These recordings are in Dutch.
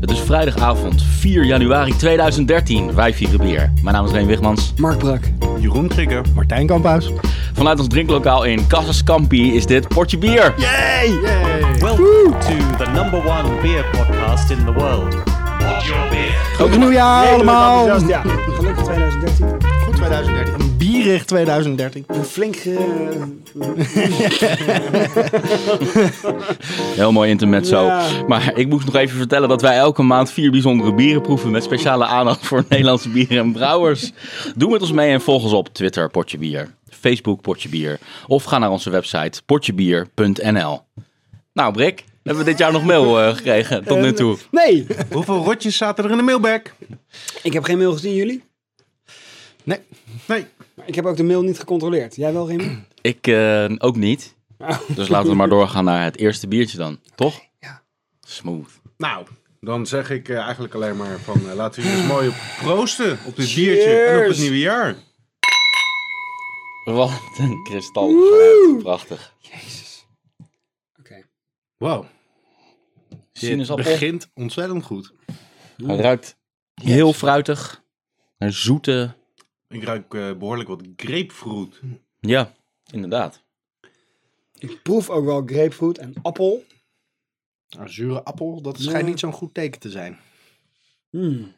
Het is vrijdagavond 4 januari 2013. Wij vieren bier. Mijn naam is Reen Wigmans. Mark Brak. Jeroen Krikke. Martijn Kamphuis. Vanuit ons drinklokaal in Casascampi is dit Portje Bier. Yay! Welcome to the number one beer podcast in the world. What your beer? Goed nieuwjaar allemaal. enthousiast, ja. Gelukkig 2013. Goed 2013. Een Bierig 2013. Een flink... eh, Heel mooi intermezzo. Ja. Maar ik moest nog even vertellen dat wij elke maand vier bijzondere bieren proeven. Met speciale aandacht voor Nederlandse bieren en brouwers. Doe met ons mee en volg ons op Twitter Potje Bier. Facebook Potje Bier. Of ga naar onze website potjebier.nl Nou Brik, hebben we dit jaar nog mail eh, gekregen tot nu toe? nee! Hoeveel rotjes zaten er in de mailbag? Ik heb geen mail gezien, jullie. Nee. Nee. Maar Ik heb ook de mail niet gecontroleerd. Jij wel, Remy? Oh. Ik eh, ook niet. Dus laten we maar doorgaan naar het eerste biertje dan. Toch? ja. Smooth. Nou, dan zeg ik eh, eigenlijk alleen maar van eh, laten we hier eens mooi op proosten. Op dit biertje en op Cheers. het nieuwe jaar. Wat een kristalgeluid. Prachtig. Oké. Wow. Dit Sinaasappel. begint ontzettend goed. Hij ruikt heel fruitig. Een zoete... Ik ruik eh, behoorlijk wat grapefruit. Ja, inderdaad. Ik proef ook wel grapefruit en appel. Een Nou, zure appel, dat schijnt niet zo'n goed teken te zijn. Mm.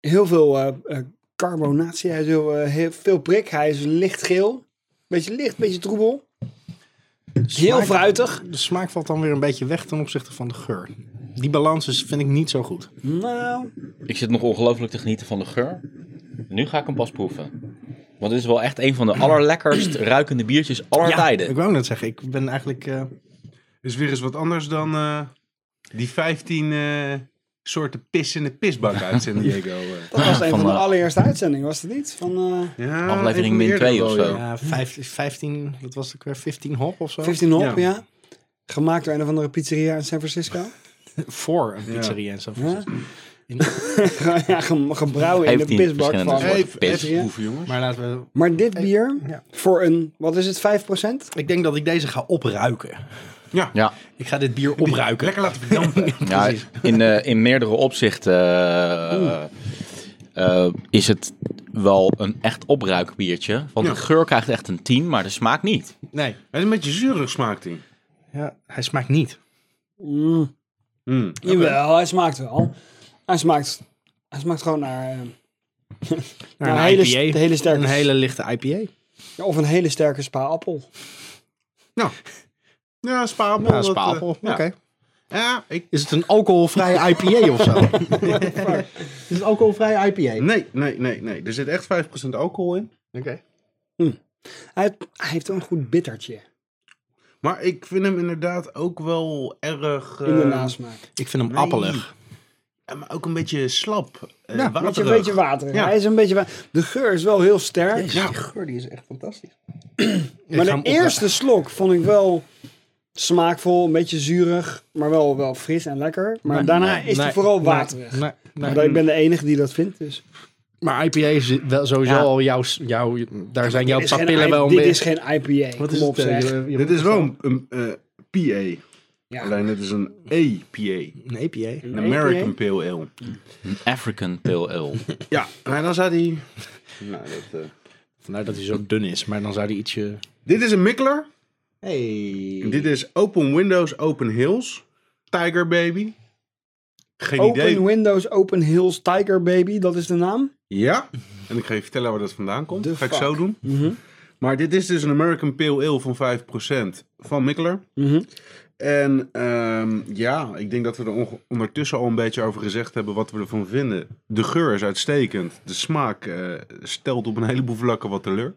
Heel veel eh eh, carbonatie. Hij is heel, eh, heel veel prik. Hij is lichtgeel. Beetje licht, beetje troebel. Heel fruitig. De smaak valt dan weer een beetje weg ten opzichte van de geur. Die balans is, vind ik niet zo goed. Nou, Ik zit nog ongelooflijk te genieten van de geur. Nu ga ik hem pas proeven. Want dit is wel echt een van de allerlekkerst ruikende biertjes aller tijden. Ik wou net zeggen, ik ben eigenlijk... eh, Is weer eens wat anders dan eh, die 15 eh, soorten pis in de pisbak uit San Diego. eh. dat was een van, Van, de eh, allereerste uitzendingen, was dat niet? Van eh Ja, Aflevering even min Ah, eerder twee of wel, zo. ja. ja, eh, vijf- 15, wat was het ook weer? 15 hop of zo? 15 Hop, Ja. ja. Gemaakt door een of andere pizzeria in San Francisco. Voor een pizzeria en zo. Ja, ja ge- gebrouwen in de 15 pisbak verschillende van... soorten. Even, Pis. even proeven, jongens. Maar laten we... Maar dit bier, Ja. voor een, wat is het, 5%? Ik denk dat ik deze ga opruiken. Ja. Ja, Ik ga dit bier opruiken. Lekker laten verdampen. ja in, eh, in meerdere opzichten eh, eh, is het wel een echt opruikbiertje. Want Ja. de geur krijgt echt een 10, maar de smaak niet. Nee, Hij is een beetje zuurig smaakt hij. ja, hij smaakt niet. Mm, Mm. Jawel, hij smaakt wel. Hij smaakt, hij smaakt gewoon naar... eh, Naar Nou, een hele IPA. st- hele sterke- Een hele lichte IPA. ja, of een hele sterke spa-appel. Nou. Ja, spaapel. Ja, spaapel. dat, eh, Oké. ja. Ja, ik... Is het een alcoholvrij IPA of zo? Is het alcoholvrij IPA? Oké. Nee, nee, nee, nee. Er zit echt 5% alcohol in. Hij, hij heeft wel een goed bittertje Maar ik vind hem inderdaad ook wel erg... eh, in de nasmaak. Ik vind hem Nee. appelig. ja, maar ook een beetje slap. eh Ja, Beetje, waterig. een beetje water. Ja. Hij is een beetje wa- De geur is wel heel sterk. Ja. geur die is echt fantastisch. maar de eerste slok vond ik wel smaakvol, een beetje zuurig, maar wel, wel fris en lekker. Maar daarna is hij vooral waterig. Nee, nee. Maar Ik ben de enige die dat vindt, dus... Maar IPA is wel sowieso Ja. al jouw, jouw... Daar zijn jouw Dit is geen papillen I- wel Dit mee. is geen IPA. Wat is op, zeg. Dit is wel een, een eh, PA. Ja. Alleen dit is een APA. Een IPA. Een American Pale Ale. Een African Pale Ale. Ja, maar dan zou die... Nou, dat, eh, Vandaar Nou, dat hij zo dun is. Maar dan zou hij ietsje... Dit is een Mikkler. Hey. Dit is Open Windows, Open Hills. Tiger Baby. Geen idee. Open Windows, Open Hills, Tiger Baby, dat is de naam. Ja, en ik ga je vertellen waar dat vandaan komt. The ga ik fuck. Mhm. zo doen. Maar dit is dus een American Pale Ale van 5% van Mikkeler. Mhm. En ehm, ja, ik denk dat we er onge- ondertussen al een beetje over gezegd hebben wat we ervan vinden. De geur is uitstekend. De smaak eh, stelt op een heleboel vlakken wat teleur.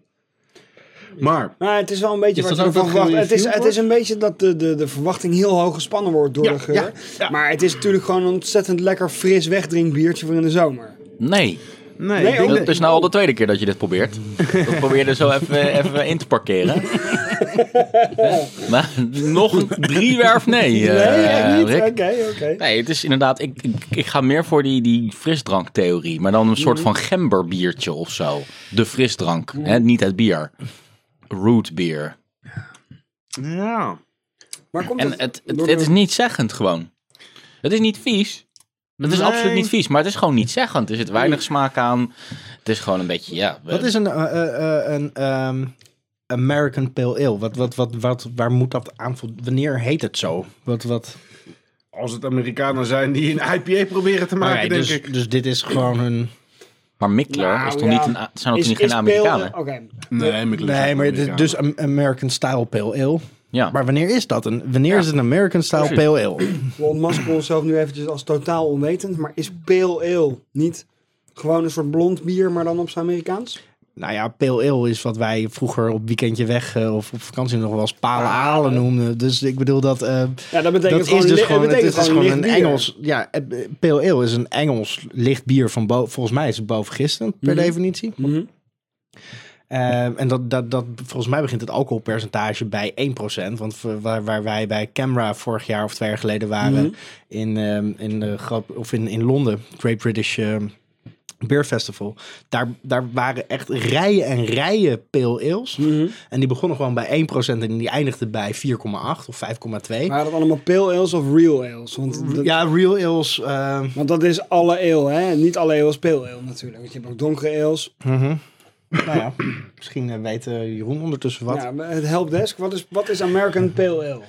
Maar Maar het is wel een beetje Is wat je dat ook ervan dat verwacht. Het is, gereviewd het is een beetje dat de, de, de verwachting heel hoog gespannen wordt door Ja, de geur. ja, ja. Maar het is natuurlijk gewoon een ontzettend lekker fris wegdrinkbiertje voor in de zomer. Nee, nee, Nee, ik denk ook- dat is nou al de tweede keer dat je dit probeert. Dat probeerde zo even, even in te parkeren. maar nog een driewerf nee. eh, nee, echt niet? Rick. Oké, oké. Nee, het is inderdaad. Ik, ik, ik ga meer voor die, die frisdranktheorie. Maar dan een Mhm. soort van gemberbiertje of zo. De frisdrank. Hè? Niet het bier. Root bier. dat- ja. Maar komt En dat het, het, door het de- is niet zeggend gewoon. Het is niet vies. Het is Nee. absoluut niet vies, maar het is gewoon niet zeggend. Er zit weinig smaak aan. Het is gewoon een beetje, ja. Wat is een, eh, eh, eh, een ehm, American Pale Ale? Wat, wat, wat, wat, waar moet dat aan voldoen? Wanneer heet het zo? Wat, wat? Als het Amerikanen zijn die een IPA proberen te maken, Oké, denk dus, Ah, ik. dus dit is gewoon een... Maar Mikler Nou, is toch ja. niet een, A- zijn dat is- toch niet is geen pale- Amerikanen? Oké. Nee, Nee, maar het is dus een American Style Pale Ale. Ja. Maar wanneer is dat? Een, wanneer is het een American Style Precies. Pale Ale? We ontmaskeren onszelf nu eventjes als totaal onwetend. Maar is pale ale niet gewoon een soort blond bier, maar dan op zijn Amerikaans? Nou ja, Pale Ale is wat wij vroeger op weekendje weg eh, of op vakantie nog wel eens pale Ah. ale noemen. Dus ik bedoel dat... eh, Ja, dat betekent dat gewoon, is dus li- gewoon, het betekent is gewoon licht een bier. Engels... Ja, eh, Pale Ale is een Engels licht bier van boven... Volgens mij is het bovengistend, per Mhm. definitie. Mhm. Eh, en dat, dat, dat, volgens mij begint het alcoholpercentage bij 1%. Want voor- waar, waar wij bij Camera vorig jaar of twee jaar geleden waren... Mhm. in, ehm, in, eh, Groot- of in, in Londen, Great British ehm, Beer Festival... Daar, daar waren echt rijen en rijen pale ales. Mhm. En die begonnen gewoon bij 1% en die eindigden bij 4,8 of 5,2. Maar dat allemaal pale ales of real ales? Want dat, Ja, real ales... ehm, want dat is alle ale, hè? Niet alle ale is pale ale natuurlijk. Want je hebt ook donkere ales. mhm. nou ja, misschien eh, weet eh, Jeroen ondertussen wat. Ja, maar het helpdesk, wat is, wat is American pale ale?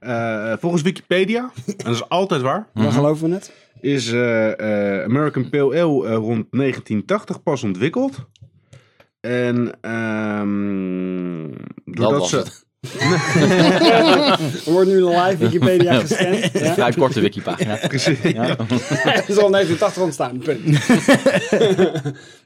Eh, volgens Wikipedia, en dat is altijd waar, Mhm. Dan geloven we het. is eh, eh, American Pale Ale eh, rond 1980 pas ontwikkeld. En ehm dat doordat was ze... het. Er wordt nu een live Wikipedia gescand. Een Ja? vrij korte wikipagina. Precies. Ja. Het is al 1980 ontstaan, punt.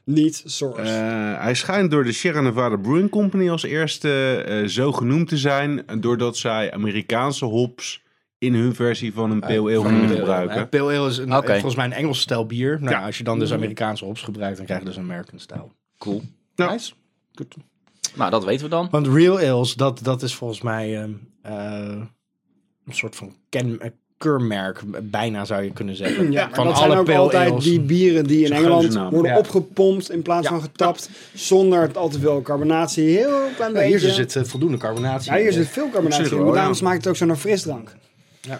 Niet source. Eh, hij schijnt door de Sierra Nevada Brewing Company als eerste eh, zo genoemd te zijn... doordat zij Amerikaanse hops in hun versie van een pale ale gingen gebruiken. Pale ale is een, Oké. volgens mij een Engels stijl bier. Nou, Ja. Als je dan dus Amerikaanse hops gebruikt, dan krijg je dus een American stijl. Cool. Nou. Nice. Goed. Nou, dat weten we dan. Want real ales, dat, dat is volgens mij ehm, eh, een soort van ken, eh, keurmerk, bijna zou je kunnen zeggen. Ja, maar van dat zijn ook pale altijd ales. die bieren die in Zo'n Engeland geuzennaam. worden Ja. opgepompt in plaats Ja. van getapt. Zonder het al te veel carbonatie. Heel klein Nou, beetje. hier zit eh, voldoende carbonatie. ja, hier in. zit veel Op zich carbonatie in. wel, Daarom Oh, ja. smaakt het ook zo naar frisdrank.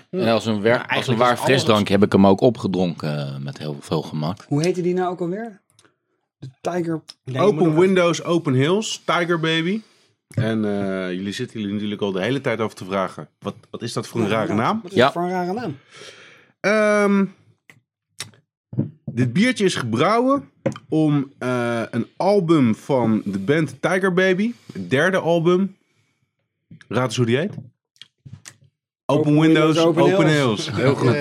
En als een, werk, als een eigenlijk waar is alles- frisdrank heb ik hem ook opgedronken eh, met heel veel gemak. Hoe heette die nou ook alweer? De Tiger. Nee, je moet Open nog- Windows, Open Hills, Tiger Baby. En eh, jullie zitten jullie natuurlijk al de hele tijd over te vragen. Wat, wat is dat voor een rare naam? Wat is Ja. dat voor een rare naam? Ehm, dit biertje is gebrouwen om eh, een album van de band Tiger Baby. Het derde album. Raad eens hoe die heet. Open, Open Windows, Windows, Open Open, Hills. Heel goed.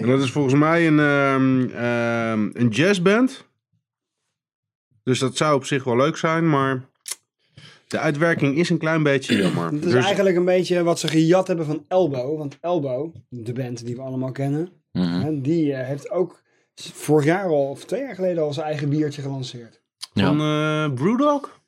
En dat is volgens mij een, ehm, ehm, een jazzband. Dus dat zou op zich wel leuk zijn, maar de uitwerking is een klein beetje jammer. Het is Dus- eigenlijk een beetje wat ze gejat hebben van Elbow. Want Elbow, de band die we allemaal kennen, Mhm. hè, die eh, heeft ook vorig jaar al of twee jaar geleden al zijn eigen biertje gelanceerd. Van eh, Brewdog?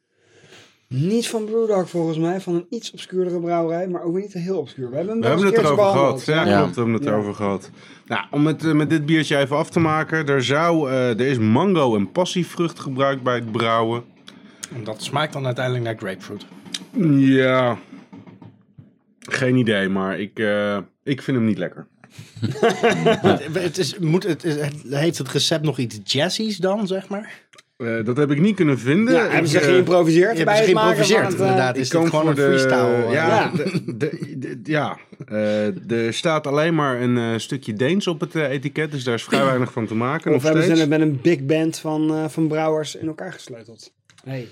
Niet van Brewdog volgens mij, van een iets obscuurdere brouwerij, maar ook weer niet heel obscuur. We hebben hem We wel hebben eens het een keertje erover behandeld. gehad. Ja, Ja. klopt, we hebben het Ja. erover gehad. Nou, om het eh, met dit biertje even af te maken. Er, zou, eh, er is mango en passievrucht gebruikt bij het brouwen. Dat smaakt dan uiteindelijk naar grapefruit. Ja, geen idee, maar ik, eh, ik vind hem niet lekker. Het, het is, moet, het, is- het- heeft het recept nog iets jazzies dan, zeg maar? Eh, dat heb ik niet kunnen vinden. Ja, hebben Ik, ze eh, geïmproviseerd Je bij hebt het maken van geïmproviseerd, het, eh, inderdaad. Is Ik dit kan gewoon voor een de, freestyle? eh, Ja, ja. de- de- de- ja. Eh, er staat alleen maar een eh, stukje Deens op het eh, etiket, dus daar is vrij weinig van te maken. Of nog hebben steeds. ze het met een big band van, eh, van brouwers in elkaar gesleuteld? Nee.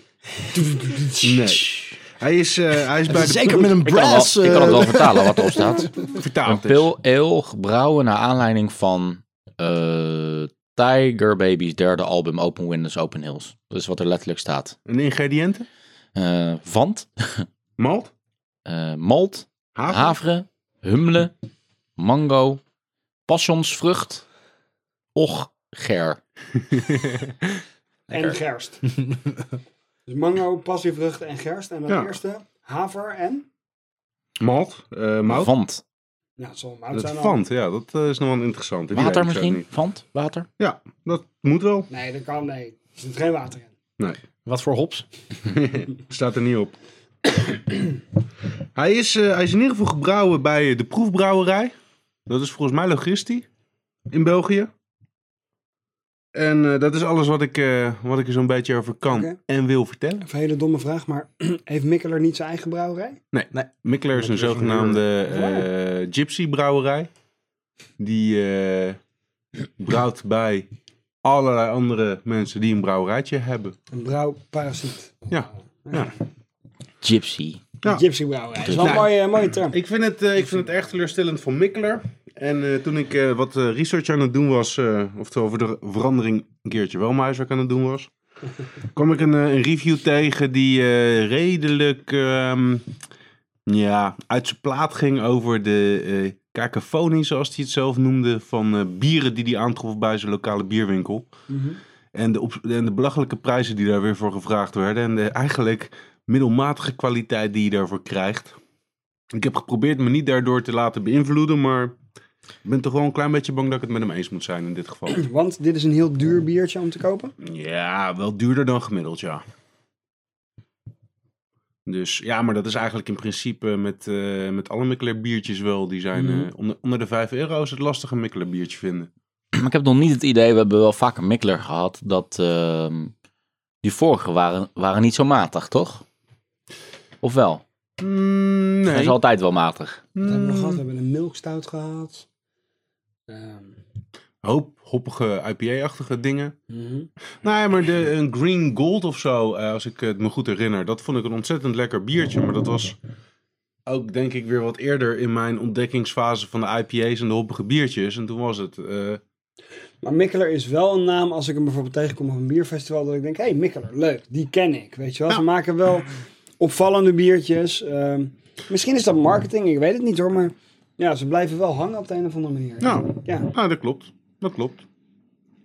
Nee. Hij is, eh, hij is bij de Zeker met een Ik kan, het brass. wel, ik kan het eh, wel vertalen wat erop staat. Een vertaald. is. pil ale gebrouwen naar aanleiding van eh, Tiger Baby's derde album Open Windows Open Hills. Dat is wat er letterlijk staat. En de ingrediënten? Eh vant, Malt, eh, malt, haver, havre, humle, mango, passionsvrucht, och, ger. En gerst. dus mango, passievrucht en gerst. En dat Ja. eerste, haver en... malt, eh, mout. Vant. Nou, het zal mout Dat zijn al. vand, ja, dat eh, is nog wel interessant. Die weet Water ik zo misschien? niet. Vant, water. Ja, dat moet wel. Nee, dat kan, nee. Er zit geen water in. Nee, Wat voor hops? staat er niet op. Hij is, eh, hij is in ieder geval gebrouwen bij eh, de proefbrouwerij. Dat is volgens mij Logisti in België. En eh, dat is alles wat ik, eh, wat ik er zo'n beetje over kan Oké. en wil vertellen. Even een hele domme vraag, maar heeft Mikkeler niet zijn eigen brouwerij? Nee, Nee. Mikkeler is een Mikkeler is een zogenaamde eh, gypsy brouwerij. Die eh, brouwt bij allerlei andere mensen die een brouwerijtje hebben. Een brouwparasiet. Ja. Gypsy. Ja. Een gypsy brouwerij. is wel een mooie, mooie term. Ik vind het, eh, ik vind het echt teleurstellend van Mikkeler. En eh, toen ik eh, wat eh, research aan het doen was, eh oftewel voor de verandering een keertje wel mijn huiswerk aan het doen was, kwam ik een, eh, een review tegen die eh, redelijk ehm, ja, uit zijn plaat ging over de eh kakofonie, zoals hij het zelf noemde, van eh, bieren die hij aantrof bij zijn lokale bierwinkel. En de, op- en de belachelijke prijzen die daar weer voor gevraagd werden. En de eigenlijk middelmatige kwaliteit die je daarvoor krijgt. Ik heb geprobeerd me niet daardoor te laten beïnvloeden, maar ik ben toch wel een klein beetje bang dat ik het met hem eens moet zijn in dit geval. Want dit is een heel duur biertje om te kopen. Ja, wel duurder dan gemiddeld, ja. Dus ja, maar dat is eigenlijk in principe met, eh, met alle Mikkeler biertjes wel. Die zijn Mhm. eh, onder, onder de 5 euro is het lastig een Mikkeler biertje vinden. Maar ik heb nog niet het idee, we hebben wel vaker Mikkeler gehad, dat ehm, die vorige waren, waren niet zo matig, toch? Of wel? Mm, Hij nee. Mm. is altijd wel matig. Wat hebben we nog gehad? We hebben een milkstout gehad. Ehm, Hoop hoppige IPA-achtige dingen. mhm. Nee, maar de, een Green Gold of zo, eh, als ik het me goed herinner. Dat vond ik een ontzettend lekker biertje. Maar dat was ook, denk ik, weer wat eerder in mijn ontdekkingsfase van de IPA's en de hoppige biertjes. En toen was het... eh, Maar Mikkeler is wel een naam als ik hem bijvoorbeeld tegenkom op een bierfestival. Dat ik denk, hé hey, Mikkeler, leuk, die ken ik. Weet je wel, ze maken wel opvallende biertjes. Ehm, misschien is dat marketing, ik weet het niet hoor. Maar ja, ze blijven wel hangen op de een of andere manier. nou, Ja. nou, dat klopt. Dat klopt.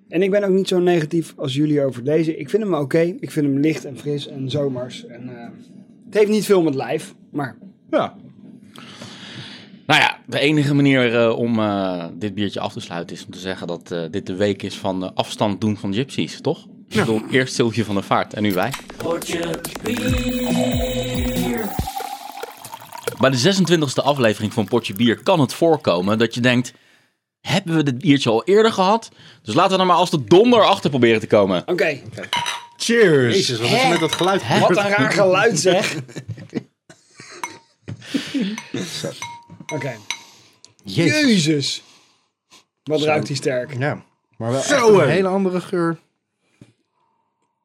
En ik ben ook niet zo negatief als jullie over deze. Ik vind hem oké. Ik vind hem licht en fris en zomers. En, eh, het heeft niet veel met lijf, maar Ja. Nou ja, de enige manier eh, om eh, dit biertje af te sluiten is om te zeggen dat eh, dit de week is van eh, afstand doen van gypsies, toch? Ik bedoel, eerst Sylvie van der Vaart en nu wij. Bij de 26e aflevering van Potje Bier kan het voorkomen dat je denkt... Hebben we dit biertje al eerder gehad? Dus laten we er maar als de donder achter proberen te komen. oké. Cheers! Jezus, wat is Hè? er met dat geluid? Wat een raar geluid zeg. oké. Jezus. Wat ruikt hij sterk. Een Ja, maar wel echt Zo, een hé. hele andere geur.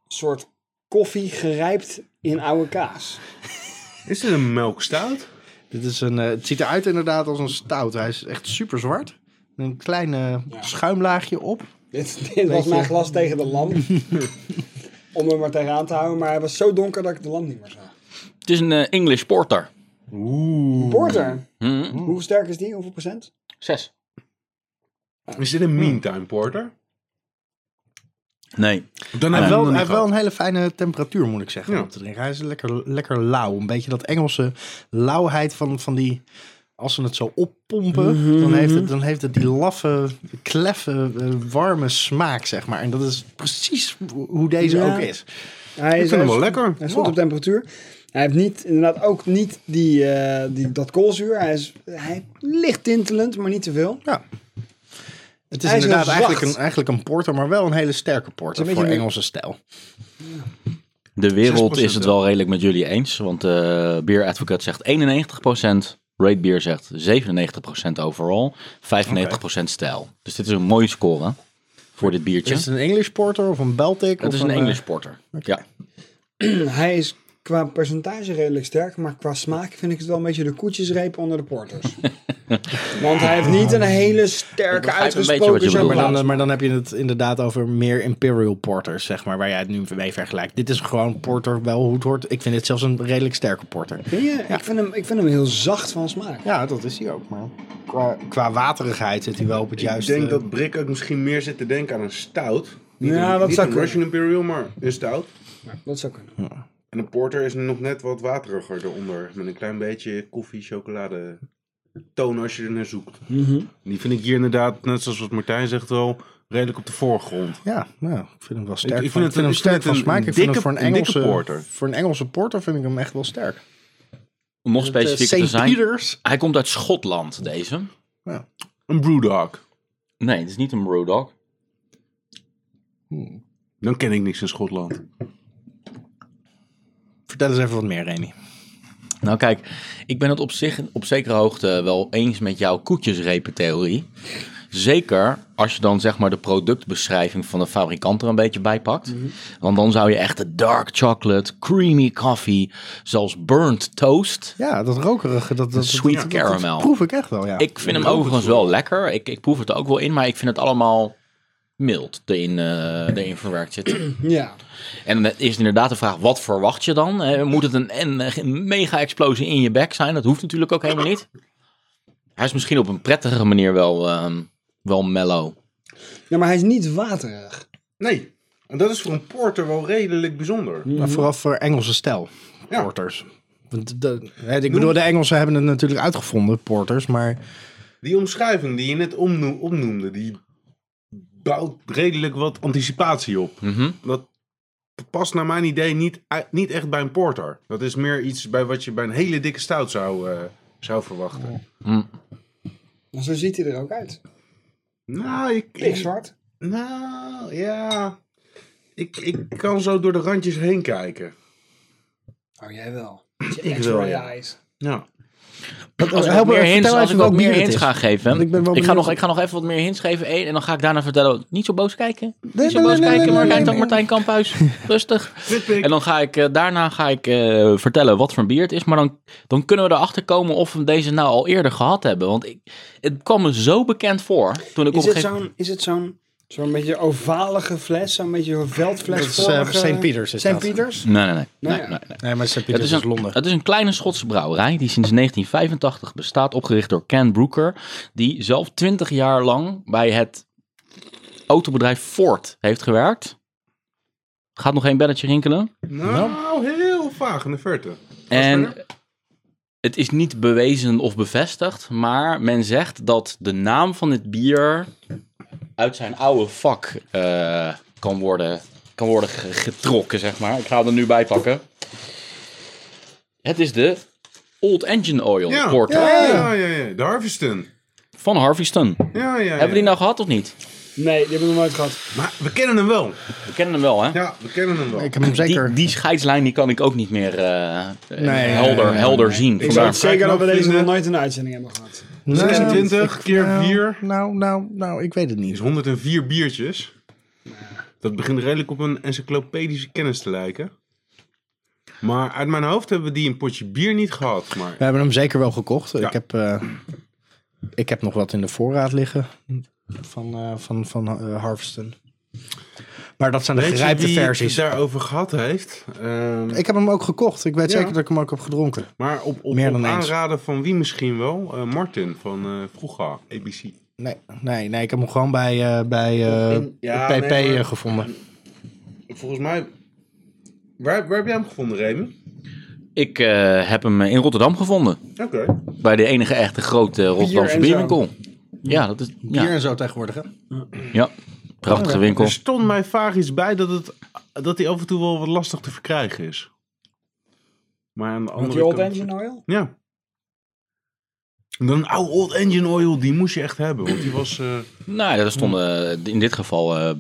soort koffie gerijpt in oude kaas. Is dit een melkstout? Dit is een, eh, het ziet eruit inderdaad als een stout. Hij is echt super zwart. Een klein eh, schuimlaagje op. Dit, dit was mijn glas tegen de lamp. Om hem maar tegenaan te houden. Maar hij was zo donker dat ik de lamp niet meer zag. Het is een eh, English Porter. Porter. Hmm. Hm? Hoe sterk is die? Hoeveel procent? Zes. Is dit een meantime porter? Nee. Dan Hij hebben heeft wel, we hem hij nog heeft wel niet een hele fijne temperatuur, moet ik zeggen, Ja. om te drinken. Hij is lekker, lekker lauw. Een beetje dat Engelse lauwheid van, van die... Als ze het zo oppompen, dan, heeft het, dan heeft het die laffe, kleffe, eh, warme smaak, zeg maar. En dat is precies hoe deze Ja. ook is. Hij Ik vind hem wel lekker. Hij is goed op temperatuur. Hij heeft niet, inderdaad ook niet die, eh, die, dat koolzuur. Hij is hij licht tintelend, maar niet te veel. Ja. Het is Hij is inderdaad heel eigenlijk zacht. een, eigenlijk een porter, maar wel een hele sterke porter Het is een voor beetje Engelse stijl. De wereld is het wel. wel redelijk met jullie eens. Want eh Beer Advocate zegt 91%. Rate Beer zegt 97% overall. 95% stijl. Dus dit is een mooie score voor dit biertje. Is het een English porter of een Baltic? Het of is een eh, English Porter. Ja. Hij is qua percentage redelijk sterk, maar qua smaak vind ik het wel een beetje de koetjesreep onder de porters. Want hij heeft niet een hele sterke begrijp een beetje uitgesproken wat je bedoelt. Maar chocolade. dan, eh, maar dan heb je het inderdaad over meer Imperial Porters, zeg maar, waar jij het nu mee vergelijkt. Dit is gewoon porter, wel hoe het hoort. Ik vind dit zelfs een redelijk sterke porter. Vind je? Ik, vind hem, ik vind hem heel zacht van smaak. Ja, dat is hij ook, maar qua, qua waterigheid zit hij wel op het Ik juiste... denk dat Brik ook misschien meer zit te denken aan een stout. Niet Ja, een, dat niet zou een kunnen. Russian Imperial, maar een stout. Dat zou kunnen. En een porter is nog net wat wateriger eronder. Met een klein beetje koffie, chocolade toon als je er naar zoekt. Die vind ik hier inderdaad, net zoals wat Martijn zegt, wel redelijk op de voorgrond. Ja, nou, ik vind hem wel sterk. van- ik vind het- hem ik vind sterk het van een- smaak. een Ik vind dikke- hem voor een een dikke Engelse porter. Voor een Engelse porter vind ik hem echt wel sterk. Om nog Het, eh, specifieker te St. zijn. Peters. Hij komt uit Schotland, deze. Een brewdog. Nee, het is niet een Brewdog. Dan ken ik niks in Schotland. Vertel eens even wat meer, Remy. Nou kijk, ik ben het op, zich, op zekere hoogte wel eens met jouw koetjesrepentheorie. Zeker als je dan zeg maar de productbeschrijving van de fabrikant er een beetje bij pakt. Want dan zou je echt de dark chocolate, creamy coffee, zelfs burnt toast. Ja, dat rokerige, dat, dat Sweet dat- dat- dat caramel. proef ik echt wel, ja. Ik vind hem overigens wel lekker. Ik, ik proef het er ook wel in, maar ik vind het allemaal mild erin, eh, erin verwerkt zitten. Ja. En dan is inderdaad de vraag, wat verwacht je dan? Eh, Moet het een, een, een mega-explosie in je bek zijn? Dat hoeft natuurlijk ook helemaal niet. Hij is misschien op een prettige manier wel, ehm, wel mellow. ja, maar hij is niet waterig. Nee. En dat is voor een porter wel redelijk bijzonder. Maar vooral voor Engelse stijl, Ja. porters. Want de, hè, ik bedoel, de Engelsen hebben het natuurlijk uitgevonden, porters, maar... Die omschrijving die je net omno- opnoemde, die bouwt redelijk wat anticipatie op. Mhm. Dat past naar mijn idee niet, ei- niet echt bij een porter. Dat is meer iets bij wat je bij een hele dikke stout zou, eh, zou verwachten. Maar zo ziet hij er ook uit. Nou, ik, Ik ik, zwart. nou, ja. Ik, ik kan zo door de randjes heen kijken. Oh, jij wel. Met je Ik X-ray wel, ja. eyes. Ja. Als ik Help wat me, meer vertel hints, even als ik welk wat meer bier het hints is. ga geven. Want ik Ik, ben wel ga benieuwd. nog, ik ga nog even wat meer hints geven. Eén, en dan ga ik daarna vertellen. Niet zo boos kijken. Nee, Niet zo nee, boos nee, nee, kijken, nee, Martijn, nee, nee. Martijn Kamphuis. Rustig. Flitwick. En dan ga ik, eh, daarna ga ik eh, vertellen wat voor een bier het is. Maar dan, dan kunnen we erachter komen of we deze nou al eerder gehad hebben. Want ik, het kwam me zo bekend voor. Toen ik op Is een het gegeven moment... zo'n, is het zo'n, zo'n beetje ovalige fles? Zo'n beetje een Dat is, veldfles? eh, St. Peters is St. dat. Pieters? Nee, nee, nee. nee, Nou nee, ja. nee. Nee, maar St. Het Peters is, is, een, Londen. het is een kleine Schotse brouwerij die sinds 1985 bestaat, opgericht door Ken Brooker, die zelf 20 jaar lang bij het autobedrijf Ford heeft gewerkt. Gaat nog geen belletje rinkelen. Nou, heel vaag in de verte. En het is niet bewezen of bevestigd, maar men zegt dat de naam van dit bier uit zijn oude vak eh, kan, worden, kan worden ge- getrokken, zeg maar. Ik ga hem er nu bij pakken. Het is de Old Engine Oil Ja. Porter Ja, ja, ja, ja. De Harveston. van Harvey Stun. Ja, ja, ja. Hebben we die nou gehad of niet? Nee, die hebben we nog nooit gehad. Maar we kennen hem wel. We kennen hem wel, hè? Ja, we kennen hem wel. Ik heb hem zeker... Die, die scheidslijn die kan ik ook niet meer eh, Nee, helder, nee, nee, helder nee. zien. Ik Vandaar. weet zeker dat we Kijk, deze nog vrienden. nooit in de uitzending hebben gehad. Nou, 26 ik- keer nou, 4. Nou, nou, nou, ik weet het is niet. 104 biertjes. Dat begint redelijk op een encyclopedische kennis te lijken. Maar uit mijn hoofd hebben we die een potje bier niet gehad. Maar We hebben hem zeker wel gekocht. Ik, heb, eh, ik heb nog wat in de voorraad liggen van, eh van, van eh, Harveston. Maar dat zijn de weet je gerijpte wie het versies. daarover gehad heeft? Ehm, Ik heb hem ook gekocht. Ik weet Ja. zeker dat ik hem ook heb gedronken. maar op, op, Meer op dan eens. aanraden van wie misschien wel? Eh, Martin van eh vroeger, ABC. Nee, nee, nee, ik heb hem gewoon bij, eh, bij eh, Ja, PP nee, maar- eh, gevonden. Volgens mij... Waar, waar heb jij hem gevonden, Remy? Ik eh, heb hem in Rotterdam gevonden. Oké. Bij de enige echte grote eh, Rotterdamse en bierwinkel. Ja, dat is. Hier Ja, en zo tegenwoordig. hè? ja. prachtige winkel. Er stond mij vaag iets bij dat, het, dat hij af en toe wel wat lastig te verkrijgen is. Maar aan de Want andere die Old kant... Engine Oil? Ja. En dan een oude Old Engine Oil, die moest je echt hebben. Want die was... eh, Nou, ja, er stonden eh, in dit geval eh,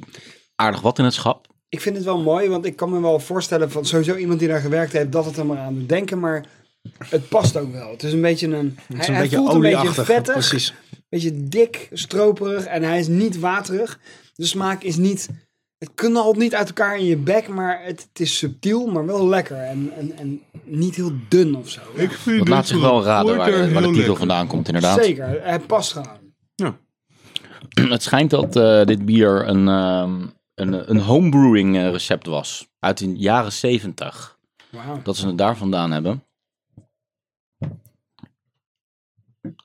aardig wat in het schap. Ik vind het wel mooi, want ik kan me wel voorstellen van sowieso iemand die daar gewerkt heeft, dat het er maar aan doet denken, maar het past ook wel. Het is een beetje een, hij, Het is hij een beetje voelt een beetje olieachtig. vettig, Precies. een beetje dik, stroperig en hij is niet waterig. De smaak is niet, het knalt niet uit elkaar in je bek, maar het, het is subtiel, maar wel lekker en, en, en niet heel dun of zo. Dat laat zich wel raden waar, de- waar de titel vandaan komt, inderdaad. Zeker, hij past gewoon. Het schijnt dat eh, dit bier een, ehm, een, een homebrewing eh, recept was. Uit de jaren zeventig. Wauw. Dat ze het daar vandaan hebben.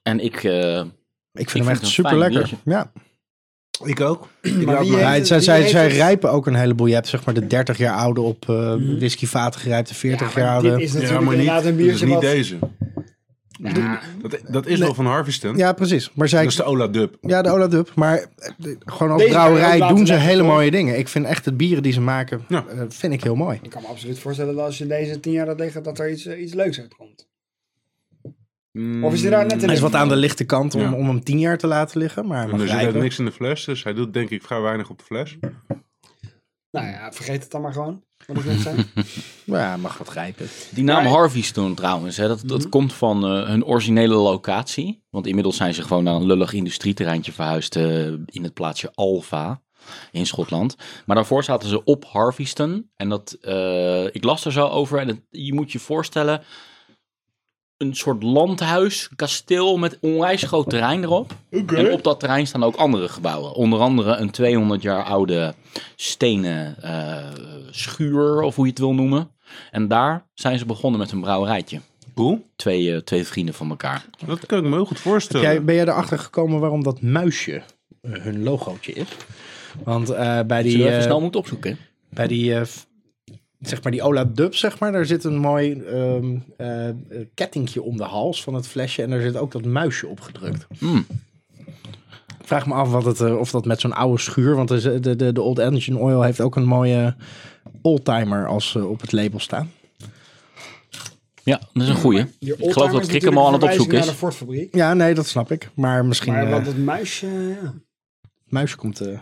En ik. eh, Ik Ik vind hem vind het een echt super lekker. fijn Ja. Ik ook. Maar wie Ja, heeft het- het- zij, wie zij, heeft zij het- rijpen ook een heleboel. Je hebt zeg maar de 30 jaar oude op eh whiskyvaten gerijpt, de 40 jaar Ja, maar oude. dit is Ja, natuurlijk maar niet, inderdaad een dus biertje niet wat... deze. Dat, dat is wel van Harveston. Ja, precies. Maar zij, Dat is Dus de Ola Dub. ja, de Ola Dub. Maar eh, de- gewoon als Deze kan brouwerij je ook doen ze laten hele leggen, mooie dingen. Ik vind echt de bieren die ze maken, Ja. eh, vind ik heel mooi. Ik kan me absoluut voorstellen dat als je deze tien jaar had liggen, dat er iets, eh, iets leuks uitkomt. Of is hij daar Mm. net in? Hij is wat aan de lichte kant om, Ja. om hem tien jaar te laten liggen. Maar hij En mag er zit ook rijpen. dus niks in de fles, dus hij doet denk ik vrij weinig op de fles. Nou ja, vergeet het dan maar gewoon. Wat ik net zei. Maar ja, hij mag wat grijpen. Die naam Maar- Harvey's toen trouwens, hè, dat, dat komt van eh, hun originele locatie. Want inmiddels zijn ze gewoon naar een lullig industrieterreintje verhuisd eh, in het plaatsje Alfa in Schotland. Maar daarvoor zaten ze op Harveyston. En dat, eh, ik las er zo over en het- je moet je voorstellen, een soort landhuis, kasteel met onwijs groot terrein erop. En op dat terrein staan ook andere gebouwen. Onder andere een 200 jaar oude stenen eh, schuur, of hoe je het wil noemen. En daar zijn ze begonnen met een brouwerijtje. Cool. Twee, eh, twee vrienden van elkaar. Dat kan ik me heel goed Heb voorstellen. jij, ben jij erachter gekomen waarom dat muisje eh, hun logootje is? Want eh, bij Die die, je even eh, snel moet opzoeken. hè? bij die, eh, f- zeg maar die Ola Dub, zeg maar, daar zit een mooi ehm eh, eh, kettingje om de hals van het flesje. En daar zit ook dat muisje op gedrukt. Mm. Ik vraag me af wat het, eh, of dat met zo'n oude schuur, want er zit- de, de, de Old Engine Oil heeft ook een mooie oldtimer als eh, op het label staan. Ja, dat is een goeie. Die Ik geloof dat oldtimer Krik hem al aan het natuurlijk opzoeken een verwijzing is. naar de Ford-fabriek. Ja, nee, dat snap ik. Maar misschien Maar eh, wat dat muisje, ja. het muisje komt... eh,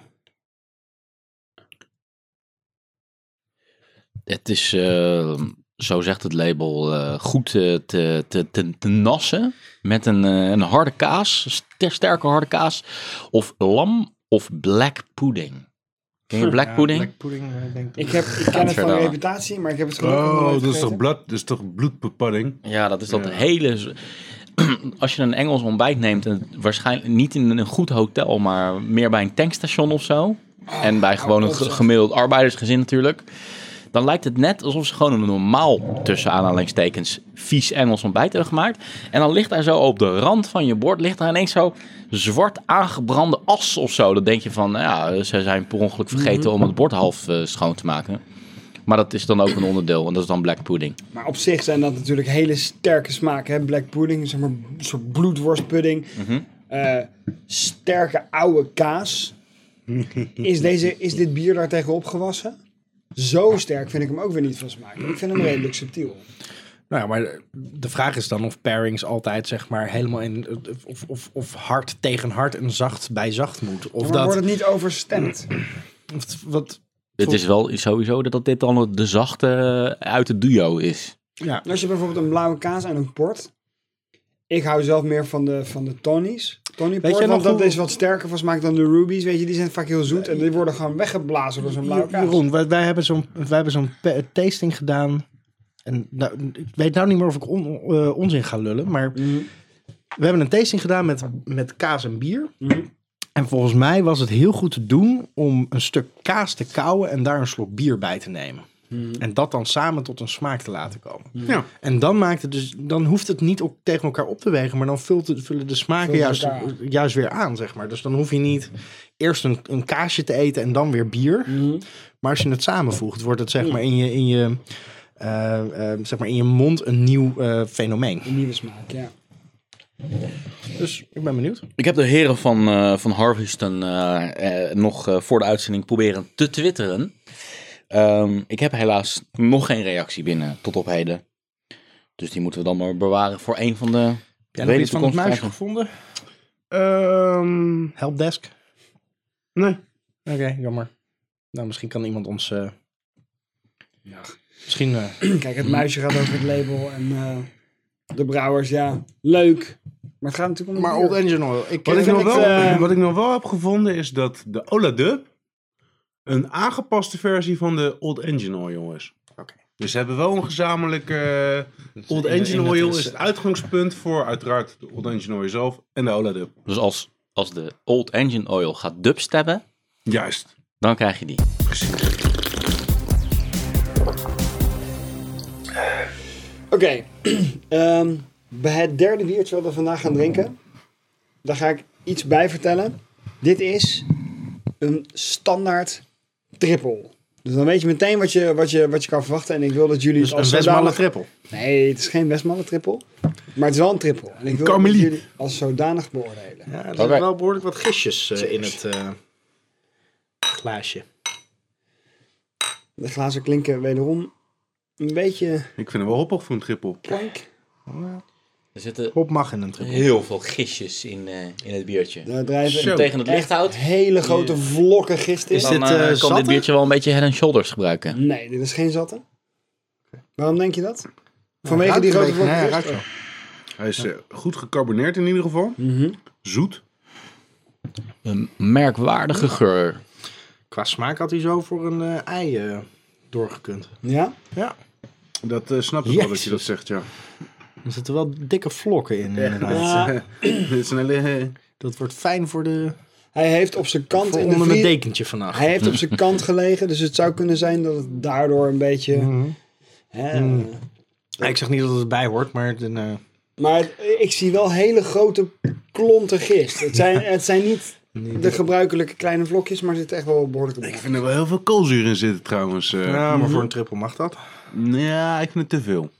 Het is, eh, zo zegt het label, eh, goed eh, te, te, te, te nassen met een, eh, een harde kaas, ster- sterke harde kaas, of lam of black pudding. Ken je black pudding? Black pudding, eh, denk ik. Ik, heb, ik ken het van Gadverdamme. reputatie, maar ik heb het gelukkig nog Oh, nooit dat is, toch gegeten. bloed, dat is toch bloedbepadding? Ja, dat is dat Ja. hele. z- Als je een Engels ontbijt neemt, en waarschijnlijk niet in een goed hotel, maar meer bij een tankstation of zo. En bij gewoon een ge- gemiddeld arbeidersgezin natuurlijk. Dan lijkt het net alsof ze gewoon een normaal, tussen aanhalingstekens, vies Engels ontbijt hebben gemaakt. En dan ligt daar zo op de rand van je bord, ligt daar ineens zo zwart aangebrande as of zo. Dan denk je van, nou ja, ze zijn per ongeluk vergeten om het bord half eh, schoon te maken. Maar dat is dan ook een onderdeel en dat is dan black pudding. Maar op zich zijn dat natuurlijk hele sterke smaken. Hè? Black pudding, zeg maar, een soort bloedworstpudding. Mhm. Eh, sterke oude kaas. Is, deze, is dit bier daartegen opgewassen? Zo sterk vind ik hem ook weer niet van smaak. Ik vind hem redelijk subtiel. Nou ja, maar de- de vraag is dan of pairings altijd zeg maar helemaal in... eh, Of, of, of hard tegen hard en zacht bij zacht moet. Of Maar dat... Mm. wordt het niet overstemd? of het- wat, Het is wel sowieso dat dit dan de zachte eh, uit het duo is. ja. Als je bijvoorbeeld een blauwe kaas en een port. Ik hou zelf meer van de, van de Tony's. Tony port, jij want nog dat hoe- is wat sterker van smaak dan de Rubies. Weet je, die zijn vaak heel zoet en die worden gewoon weggeblazen door zo'n blauwe kaas. Jeroen, wij, wij hebben zo'n wij hebben zo'n pa- tasting gedaan. En nou, ik weet nou niet meer of ik on, eh, onzin ga lullen, maar we hebben een tasting gedaan met, met kaas en bier. En volgens mij was het heel goed te doen om een stuk kaas te kauwen en daar een slok bier bij te nemen. En dat dan samen tot een smaak te laten komen. Ja. En dan maakt het dus, dan hoeft het niet ook tegen elkaar op te wegen, maar dan vult het, vullen de smaken Vult juist, elkaar aan. juist weer aan, zeg maar. Dus dan hoef je niet eerst een, een kaasje te eten en dan weer bier. Maar als je het samenvoegt, wordt het zeg maar in je, in je, eh, eh, zeg maar in je mond een nieuw eh, fenomeen. Een nieuwe smaak, ja. Dus ik ben benieuwd. Ik heb de heren van, eh van Harveston eh, eh, nog eh, voor de uitzending proberen te twitteren. Ehm, ik heb helaas nog geen reactie binnen tot op heden. Dus die moeten we dan maar bewaren voor een van de... Heb redelijk je iets van het muisje toekomstige- gevonden? Ehm, Helpdesk? nee. Oké, jammer. Nou, misschien kan iemand ons... eh, Misschien... eh, Kijk, het muisje gaat over het label en eh, de brouwers, ja, leuk. Maar het gaat natuurlijk om het maar bier. Old Engine Oil. Ik, Wat eh, ik, nog ik, wel, eh, wat ik nog wel heb gevonden is dat de Ola Dub een aangepaste versie van de Old Engine Oil is. Oké. Dus ze hebben wel een gezamenlijk... eh, Old in de- in Engine het Oil is- is het uitgangspunt voor uiteraard de Old Engine Oil zelf en de Ola Dub. Dus als, als de Old Engine Oil gaat dubstabben, Juist. dan krijg je die. Oké, ehm, bij het derde biertje wat we vandaag gaan drinken, daar ga ik iets bij vertellen. Dit is een standaard triple. Dus dan weet je meteen wat je, wat je, wat je kan verwachten. En ik wil dat jullie Dus het als een Westmalle zodanig... triple. Nee, het is geen Westmalle triple. Maar het is wel een triple. En ik wil dat Carmelie. jullie als zodanig beoordelen. Ja, er Oké. zitten wel behoorlijk wat gistjes eh, in het eh, glaasje. De glazen klinken wederom een beetje Ik vind hem wel hoppig voor een triple. plank. Er zitten Op mag in een triple. heel veel gistjes in, eh, in het biertje. Daar drijven Als je hem tegen het licht echt houdt, hele grote vlokken gist in. Is dan dit, eh, eh, kan zatte? dit biertje wel een beetje head and shoulders gebruiken. Nee, dit is geen zatte. Waarom denk je dat? Vanwege Ruikt die een grote beetje. vlokken Ja, gist? ruikt wel. Hij is eh, goed gecarboneerd in ieder geval. Mhm. Zoet. Een merkwaardige geur. Qua smaak had hij zo voor een eh, ei eh, doorgekund. Ja? Ja. Dat eh, snap ik wel dat je dat Jezus. zegt, ja. Er zitten wel dikke vlokken in inderdaad. Ja. Dit is een hele... eh, Dat wordt fijn voor, de, Hij heeft op zijn kant voor in de onder mijn vlie- dekentje vannacht. Hij heeft op zijn kant gelegen, dus het zou kunnen zijn dat het daardoor een beetje. Mhm. Hè, Mm. Ja, Ik zeg niet dat het erbij hoort, maar het, een, eh, Maar het- ik zie wel hele grote klonten gist. Het zijn, het zijn niet de gebruikelijke kleine vlokjes, maar er zitten echt wel behoorlijke Ik blokken. vind er wel heel veel koolzuur in zitten trouwens. eh. ja, maar voor een triple mag dat. Ja, ik vind het te veel. Maar,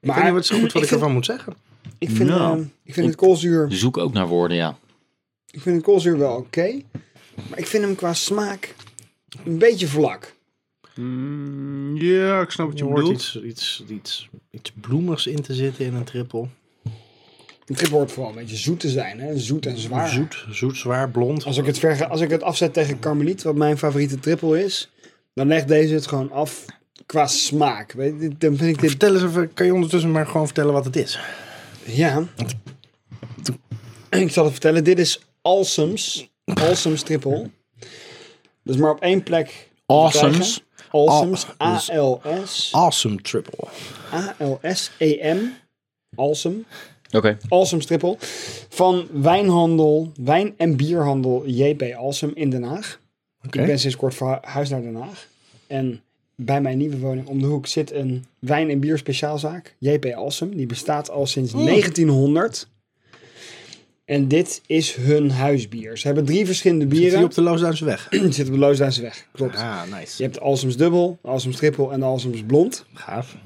ik Maar weet niet wat, goed wat ik, ik vind, ervan moet zeggen. ik vind, Ja. ehm, ik vind het koolzuur, Zoek ook naar woorden, ja. ik vind het koolzuur wel oké. Maar ik vind hem qua smaak een beetje vlak. Mm, ja, ik snap wat Je je hoort bedoelt. iets, iets, iets, iets bloemigs in te zitten in een triple. Een trip hoort vooral een beetje zoet te zijn, hè? zoet en zwaar. Zoet, zoet, zwaar, blond. Als ik, het verge- als ik het afzet tegen Carmeliet, wat mijn favoriete triple is, dan legt deze het gewoon af qua smaak. Weet je, dit- dan vind ik dit. Vertel eens even, kan je ondertussen maar gewoon vertellen wat het is? Ja. Ik zal het vertellen. Dit is Alsums. Alsums triple. Dus maar op één plek. te Awesomes. krijgen. Alsums. Al- dus- A-L-S. Awesome triple. A-L-S-E-M. E Alsum. Oké. Alsum Triple. Van wijnhandel, wijn- en bierhandel JP Alsum in Den Haag. Oké. Ik ben sinds kort verhuisd naar Den Haag. En bij mijn nieuwe woning om de hoek zit een wijn- en bierspeciaalzaak, JP Alsum. Die bestaat al sinds 1900. En dit is hun huisbier. Ze hebben drie verschillende Zit bieren. die op de Loosduinse weg? Zit op, de Loosduinse weg, klopt. Ah, Je nice. hebt de Alsums Dubbel, de Alsums Triple en de Alsums Blond. Gaaf.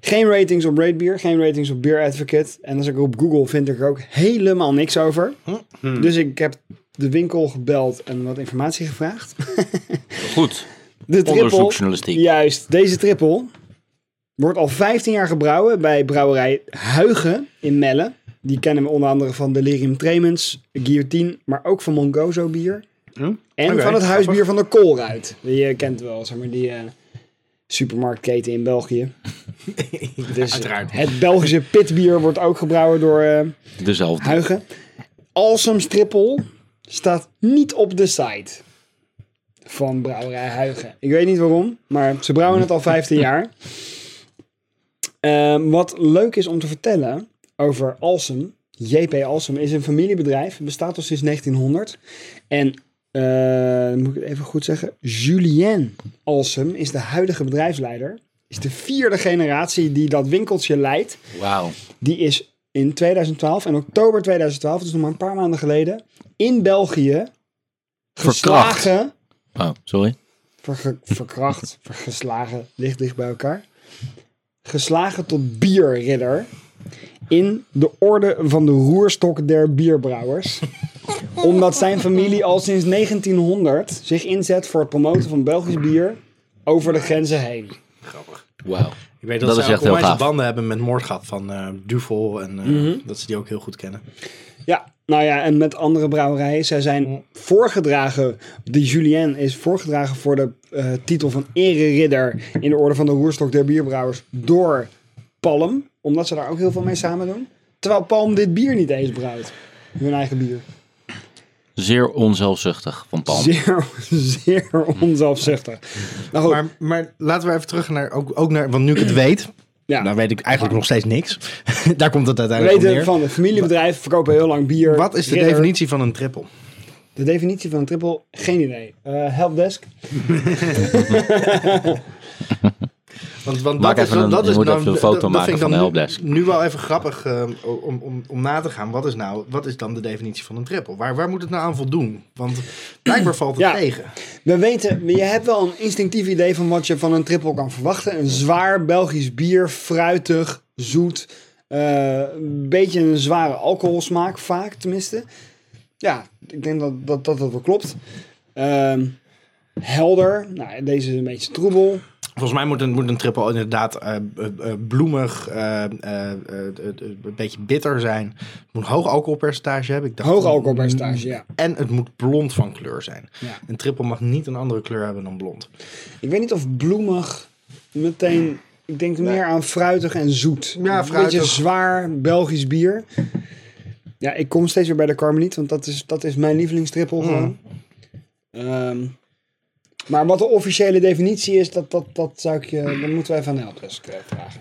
Geen ratings op Ratebeer, geen ratings op Beer Advocate. En als ik op Google vind ik er ook helemaal niks over. Dus ik heb de winkel gebeld en wat informatie gevraagd. Goed. De triple, Onderzoeksjournalistiek. juist, deze triple wordt al 15 jaar gebrouwen bij brouwerij Huigen in Melle. Die kennen we onder andere van Delirium Tremens, Guillotine, maar ook van Mongozo bier. Hm? En Oké, van het grappig. huisbier van de Koolruit. Je kent wel, zeg maar, die eh, supermarktketen in België. dus Uiteraard. Het Belgische pitbier wordt ook gebrouwen door eh Dezelfde. Huigen. Awesome Triple staat niet op de site van brouwerij Huigen. Ik weet niet waarom, maar ze brouwen het al 15 jaar. Ehm, wat leuk is om te vertellen over Alsem. JP Alsem is een familiebedrijf. Het bestaat al sinds 1900. En, eh, moet ik het even goed zeggen, Julien Alsem is de huidige bedrijfsleider. Is de vierde generatie die dat winkeltje leidt. Wauw. Die is in 2012, in oktober 2012, dus nog maar een paar maanden geleden, in België Verkracht. geslagen. Oh, sorry. verge- verkracht, vergeslagen, ligt dicht bij elkaar. Geslagen tot bierridder in de orde van de roerstok der bierbrouwers. Omdat zijn familie al sinds 1900 zich inzet voor het promoten van Belgisch bier over de grenzen heen. Grappig. Wauw. Ik weet Dat dat, is ze echt ook heel onwijs gaaf. banden hebben met Moordgat van eh, Duvel en eh, dat ze die ook heel goed kennen. Ja, nou ja, en met andere brouwerijen. Zij zijn voorgedragen. De Julien is voorgedragen voor de eh, titel van ereridder in de orde van de roerstok der bierbrouwers door Palm. Omdat ze daar ook heel veel mee samen doen. Terwijl Palm dit bier niet eens brouwt. Hun eigen bier. Zeer onzelfzuchtig van Palm. Zeer, zeer onzelfzuchtig. Nou goed, Oh, Maar, maar laten we even terug naar, ook, ook naar, want nu ik het weet, ja. dan weet ik eigenlijk nog steeds niks. Daar komt het we uiteindelijk op weten neer. van de familiebedrijf, verkopen heel lang bier. Wat is de ridder. definitie van een triple? De definitie van een triple, geen idee. Eh, helpdesk. Want, want Maak dat even is, een- dat je is moet nou, even een dat- foto dat vind maken ik van dan de nu- helpdesk. Nu, wel even grappig eh, om, om, om na te gaan. Wat is, nou, wat is dan de definitie van een triple? Waar, waar moet het nou aan voldoen? Want blijkbaar valt het Ja. tegen. We weten, je hebt wel een instinctief idee van wat je van een triple kan verwachten. Een zwaar Belgisch bier, fruitig, zoet. eh, een beetje een zware alcoholsmaak, vaak tenminste. Ja, ik denk dat dat, dat, dat wel klopt. Ehm, helder, nou, deze is een beetje troebel. Volgens mij moet een, moet een triple inderdaad eh, eh, eh, bloemig, eh, eh, eh, eh, een beetje bitter zijn. Het moet een hoog alcoholpercentage hebben. Ik dacht, Hoog alcoholpercentage, ja. En het moet blond van kleur zijn. Ja. Een triple mag niet een andere kleur hebben dan blond. Ik weet niet of bloemig meteen. Ik denk meer aan fruitig en zoet. Ja, een beetje fruitig. zwaar Belgisch bier. Ja, ik kom steeds weer bij de Carmeliet, want dat is, dat is mijn Mm. lievelingstrippel gewoon. Ehm, maar wat de officiële definitie is, dat, dat, dat zou ik je, dan moeten wij van de helpdesk eh, vragen.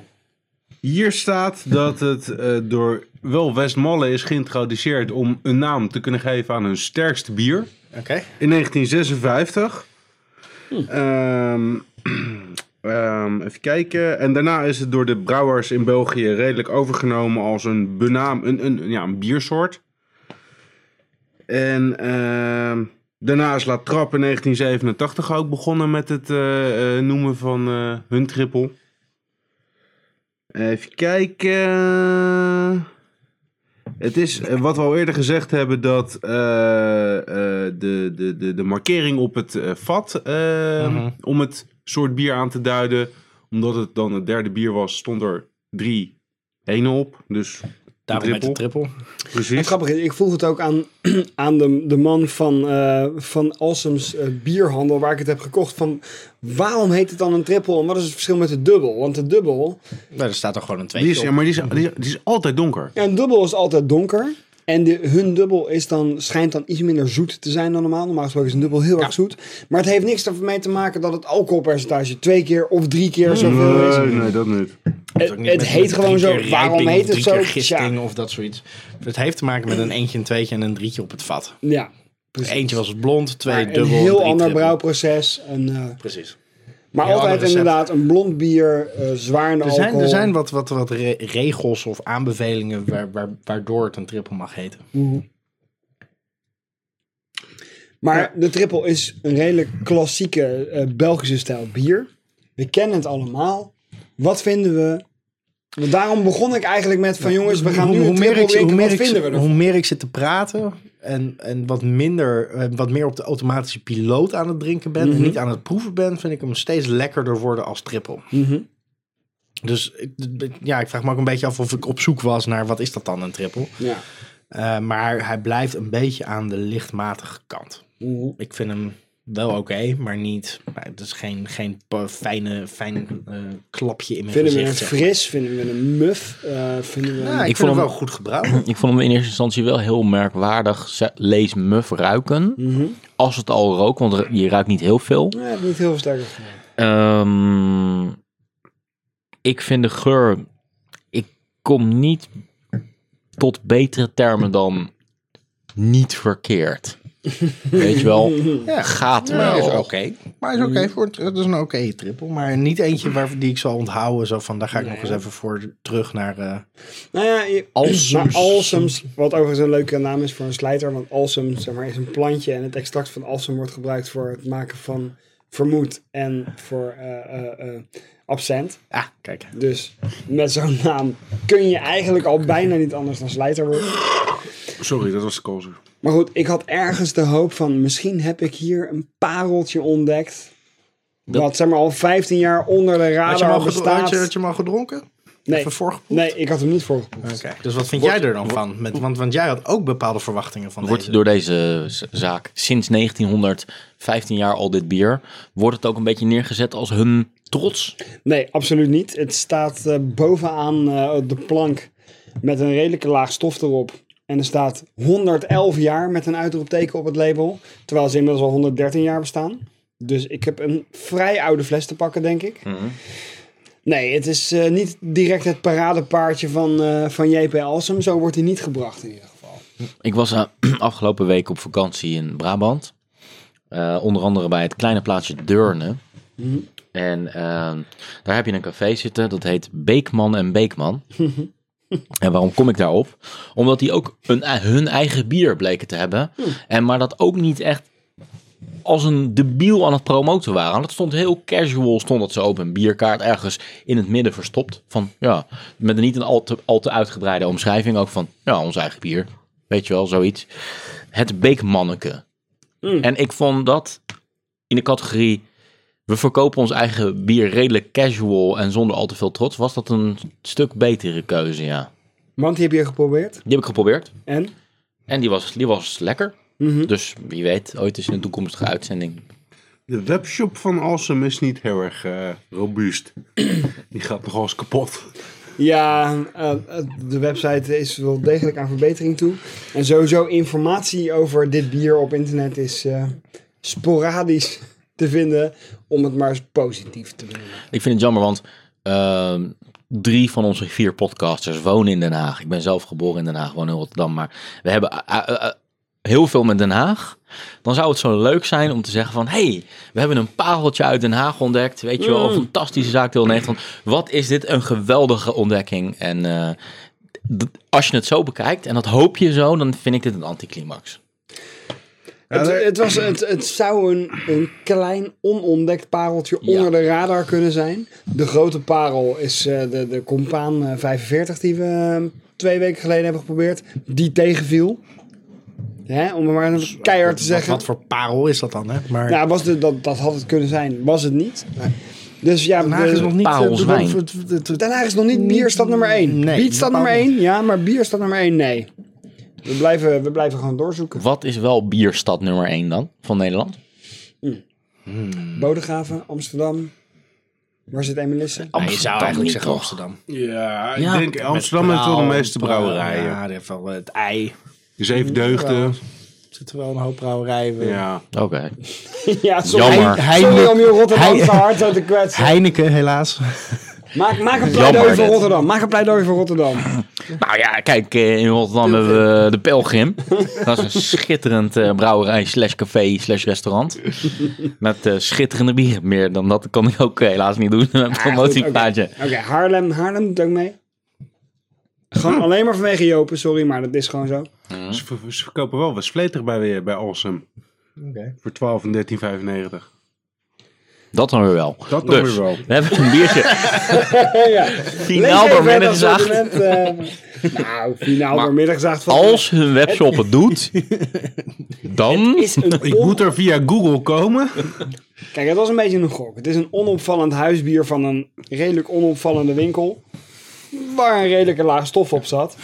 Hier staat dat het eh, door wel Westmalle is geïntroduceerd om een naam te kunnen geven aan hun sterkste bier. Oké. In 1956. Ehm, ehm, even kijken. En daarna is het door de brouwers in België redelijk overgenomen als een benaam, een, een, een- ja, een biersoort. En ehm, daarna is La Trappe in 1987 ook begonnen met het eh, eh, noemen van eh, hun trippel. Even kijken. Het is eh, wat we al eerder gezegd hebben dat eh, eh, de, de, de, de markering op het eh, vat eh, om het soort bier aan te duiden, omdat het dan het derde bier was, stond er drie henen op. Dus Daarom met de triple. Het precies. grappige is, ik vroeg het ook aan, aan de, de man van, eh van Alsem's eh, bierhandel waar ik het heb gekocht. Van waarom heet het dan een trippel en wat is het verschil met de dubbel? Want de dubbel, Nou, er staat toch gewoon een Die tweetje is, ja, maar die is, die, is, die is altijd donker. Ja, een dubbel is altijd donker. En de, hun dubbel is dan, schijnt dan iets minder zoet te zijn dan normaal. Normaal gesproken is een dubbel heel erg zoet. Maar het heeft niks ermee te maken dat het alcoholpercentage twee keer of drie keer zoveel is. nee, dat niet. Het, Het- het heet gewoon zo. Waarom heet het zo? gisting Tja. of dat soort. Het heeft te maken met een eentje, een tweetje en een drietje op het vat. Ja, Eentje was het blond, twee een dubbel, heel drie ander triple. brouwproces. En, eh, Precies. maar Heel ander altijd recept. inderdaad een blond bier, eh zwaar in de Er zijn, alcohol. er zijn wat, wat, wat re- regels of aanbevelingen waar, waar, waardoor het een triple mag heten. Maar de trippel is een redelijk klassieke eh, Belgische stijl bier. We kennen het allemaal. Wat vinden we? Want daarom begon ik eigenlijk met van jongens, we gaan nu een trippel ik, drinken. hoe, meer Wat ik, vinden we ervan? hoe meer ik zit te praten en, en wat, minder, eh, wat meer op de automatische piloot aan het drinken ben Mhm. en niet aan het proeven ben, vind ik hem steeds lekkerder worden als triple. Mhm. Dus ik- ja, ik vraag me ook een beetje af of ik op zoek was naar wat is dat dan een triple. Ja. Eh, maar hij blijft een beetje aan de lichtmatige kant. Mhm. Ik vind hem wel oké, maar niet. maar Het is geen, geen pa- fijne, fijn eh, klapje in mijn Vinden we hem gezicht. zeg maar. fris? Vinden we een muf? eh, vinden we Ja, ik, hem- Ik vond vond hem hem- wel goed gebruikt. Ik vond hem in eerste instantie wel heel merkwaardig. ze- Lees muf ruiken. Mhm. Als het al rookt, want ru- je ruikt niet heel veel. Nee, heb ik niet heel sterk gevoel. Ehm, ik vind de geur. Ik kom niet tot betere termen dan niet verkeerd. Weet je wel, Ja. gaat Ja, wel. is oké. Nou. Maar is oké Mm. voor het, het is een oké triple. Maar niet eentje waar, die ik zal onthouden. Zo van, daar ga ik nog eens even voor terug naar... eh, Nou ja, je, Alsums. maar Alsums, wat overigens een leuke naam is voor een slijter, want Alsum zeg maar, is een plantje en het extract van Alsum wordt gebruikt voor het maken van vermoed en voor eh, eh, eh, absent. ah, kijk. Dus met zo'n naam kun je eigenlijk al bijna niet anders dan slijter worden. Sorry, dat was de koolzuur. Maar goed, ik had ergens de hoop van misschien heb ik hier een pareltje ontdekt. Dat wat zeg maar al 15 jaar onder de Had je, hem radar al gedro- bestaat. had, je, had je hem al gedronken? nee, Even voorgeproefd? nee, ik had hem niet voorgeproefd. Oké. Dus wat vind jij er dan van? Met, want, want jij had ook bepaalde verwachtingen van Wordt deze. door deze z- zaak sinds 1915 jaar al dit bier. Wordt het ook een beetje neergezet als hun trots? Nee, absoluut niet. Het staat eh, bovenaan eh, op de plank met een redelijke laag stof erop. En er staat 111 jaar met een uitroepteken op het label. Terwijl ze inmiddels al 113 jaar bestaan. Dus ik heb een vrij oude fles te pakken, denk ik. Nee, het is eh, niet direct het paradepaardje van, eh, van JP Alsem. Zo wordt hij niet gebracht in ieder geval. Ik was eh, afgelopen week op vakantie in Brabant. Eh, onder andere bij het kleine plaatsje Deurne. En eh, daar heb je een café zitten, dat heet Beekman en Beekman. en waarom kom ik daarop? Omdat die ook een, hun eigen bier bleken te hebben. En maar dat ook niet echt als een debiel aan het promoten waren. Dat stond heel casual, stond dat ze op een bierkaart ergens in het midden verstopt. Van, ja, met een niet een al te, al te uitgebreide omschrijving ook van, ja, ons eigen bier. Weet je wel, zoiets. Het beekmanneke. En ik vond dat in de categorie we verkopen ons eigen bier redelijk casual en zonder al te veel trots, was dat een stuk betere keuze, ja. Want die heb je geprobeerd. Die heb ik geprobeerd En? en die was, die was lekker. Mhm. Dus wie weet, ooit is in een toekomstige uitzending. De webshop van Awesome is niet heel erg eh, robuust. Die gaat nogal eens kapot. Ja, eh, eh, de website is wel degelijk aan verbetering toe. En sowieso informatie over dit bier op internet is eh, sporadisch te vinden. Om het maar eens positief te doen. Ik vind het jammer, want ehm, drie van onze vier podcasters wonen in Den Haag. Ik ben zelf geboren in Den Haag, woon in Rotterdam. Maar we hebben eh, eh, eh, heel veel met Den Haag. Dan zou het zo leuk zijn om te zeggen van... hey, we hebben een pareltje uit Den Haag ontdekt. Weet je Mm. wel, een fantastische zaak deel 90. Wat is dit een geweldige ontdekking. En eh, d- als je het zo bekijkt, en dat hoop je zo... dan vind ik dit een anticlimax. Het, het, was, het, het zou een, een klein onontdekt pareltje Ja. onder de radar kunnen zijn. De grote parel is eh, de, de Compaan eh, 45 die we eh, twee weken geleden hebben geprobeerd. Die tegenviel. Hè, om het maar even keihard te Wat, zeggen. wat voor parel is dat dan, hè? Maar Ja, was de, dat, dat had het kunnen zijn. Was het niet. Dus ja, Den Haag de- is nog niet... eh, parelzwijn. het- het- het- het- Den Haag is nog niet bier staat nummer 1. Nee, Bier staat bepaald nummer 1, ja, maar bier staat nummer 1, nee. We blijven, we blijven gewoon doorzoeken. Wat is wel bierstad nummer 1 dan van Nederland? Bodegraven, Amsterdam. Waar zit Emelisse? Nee, Nou, je zou eigenlijk zeggen Amsterdam. Ja, ik Ja. denk Amsterdam heeft wel de Braal, meeste Braal, brouwerijen. Nou, Ja, die heeft wel eh, het ei. Zeef deugden. Er zitten wel een hoop brouwerijen. eh, Ja. Oké. ja, sorry. Jammer. Hij- sorry hij- om je Rotterdamse hij- hart zo te kwetsen. Heineken, helaas. Maak, maak een Jammer pleidooi voor dit. Rotterdam. Maak een pleidooi voor Rotterdam. Nou ja, kijk, eh, in Rotterdam hebben we de Pelgrim. Dat is een schitterend eh, brouwerij slash café slash restaurant. Met eh, schitterende bieren. Meer dan dat kan ik ook eh, helaas niet doen. Een promotieplaatje. Oké, Haarlem, Haarlem doet ook mee. Gewoon alleen maar vanwege Jopen, sorry, maar dat is gewoon zo. Ze, ver- ze verkopen wel wat sleter bij, weer bij Awesome. Voor 12 en 13,95. Dat dan weer wel. Dat dan dus, weer wel. we hebben een biertje ja. finaal door midden gezaagd. Assortiment, eh, nou, finaal door midden gezaagd. Van, Als hun webshop het doet, dan... is een Ik on- moet er via Google komen. Kijk, het was een beetje een gok. Het is een onopvallend huisbier van een redelijk onopvallende winkel. Waar een redelijke laag stof op zat.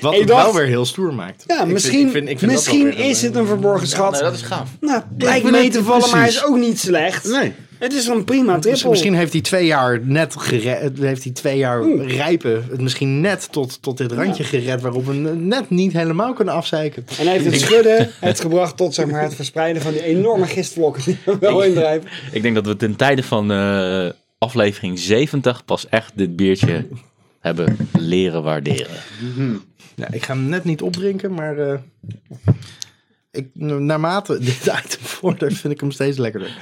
Wat Ik het dacht- wel weer heel stoer maakt. Ik Ja, vind- misschien, ik vind- ik vind dat misschien wel weer is het een verborgen schat. dat is gaaf. Nou, Ik blijkt weet mee het te vallen, maar hij is precies. ook niet slecht. Nee. Het is een prima Misschien- trippel. Misschien heeft hij twee jaar net gered, heeft hij twee jaar rijpen, het misschien net tot, tot dit randje gered, waarop we het net niet helemaal kunnen afzeiken. En hij heeft het schudden het gebracht tot zeg maar, het verspreiden van die enorme gistvlokken die er wel indrijven. Ik denk dat we ten tijde van eh, aflevering 70 pas echt dit biertje hebben leren waarderen. Ja, Nou, ik ga hem net niet opdrinken, maar eh, ik, naarmate dit item vordert, vind ik hem steeds lekkerder.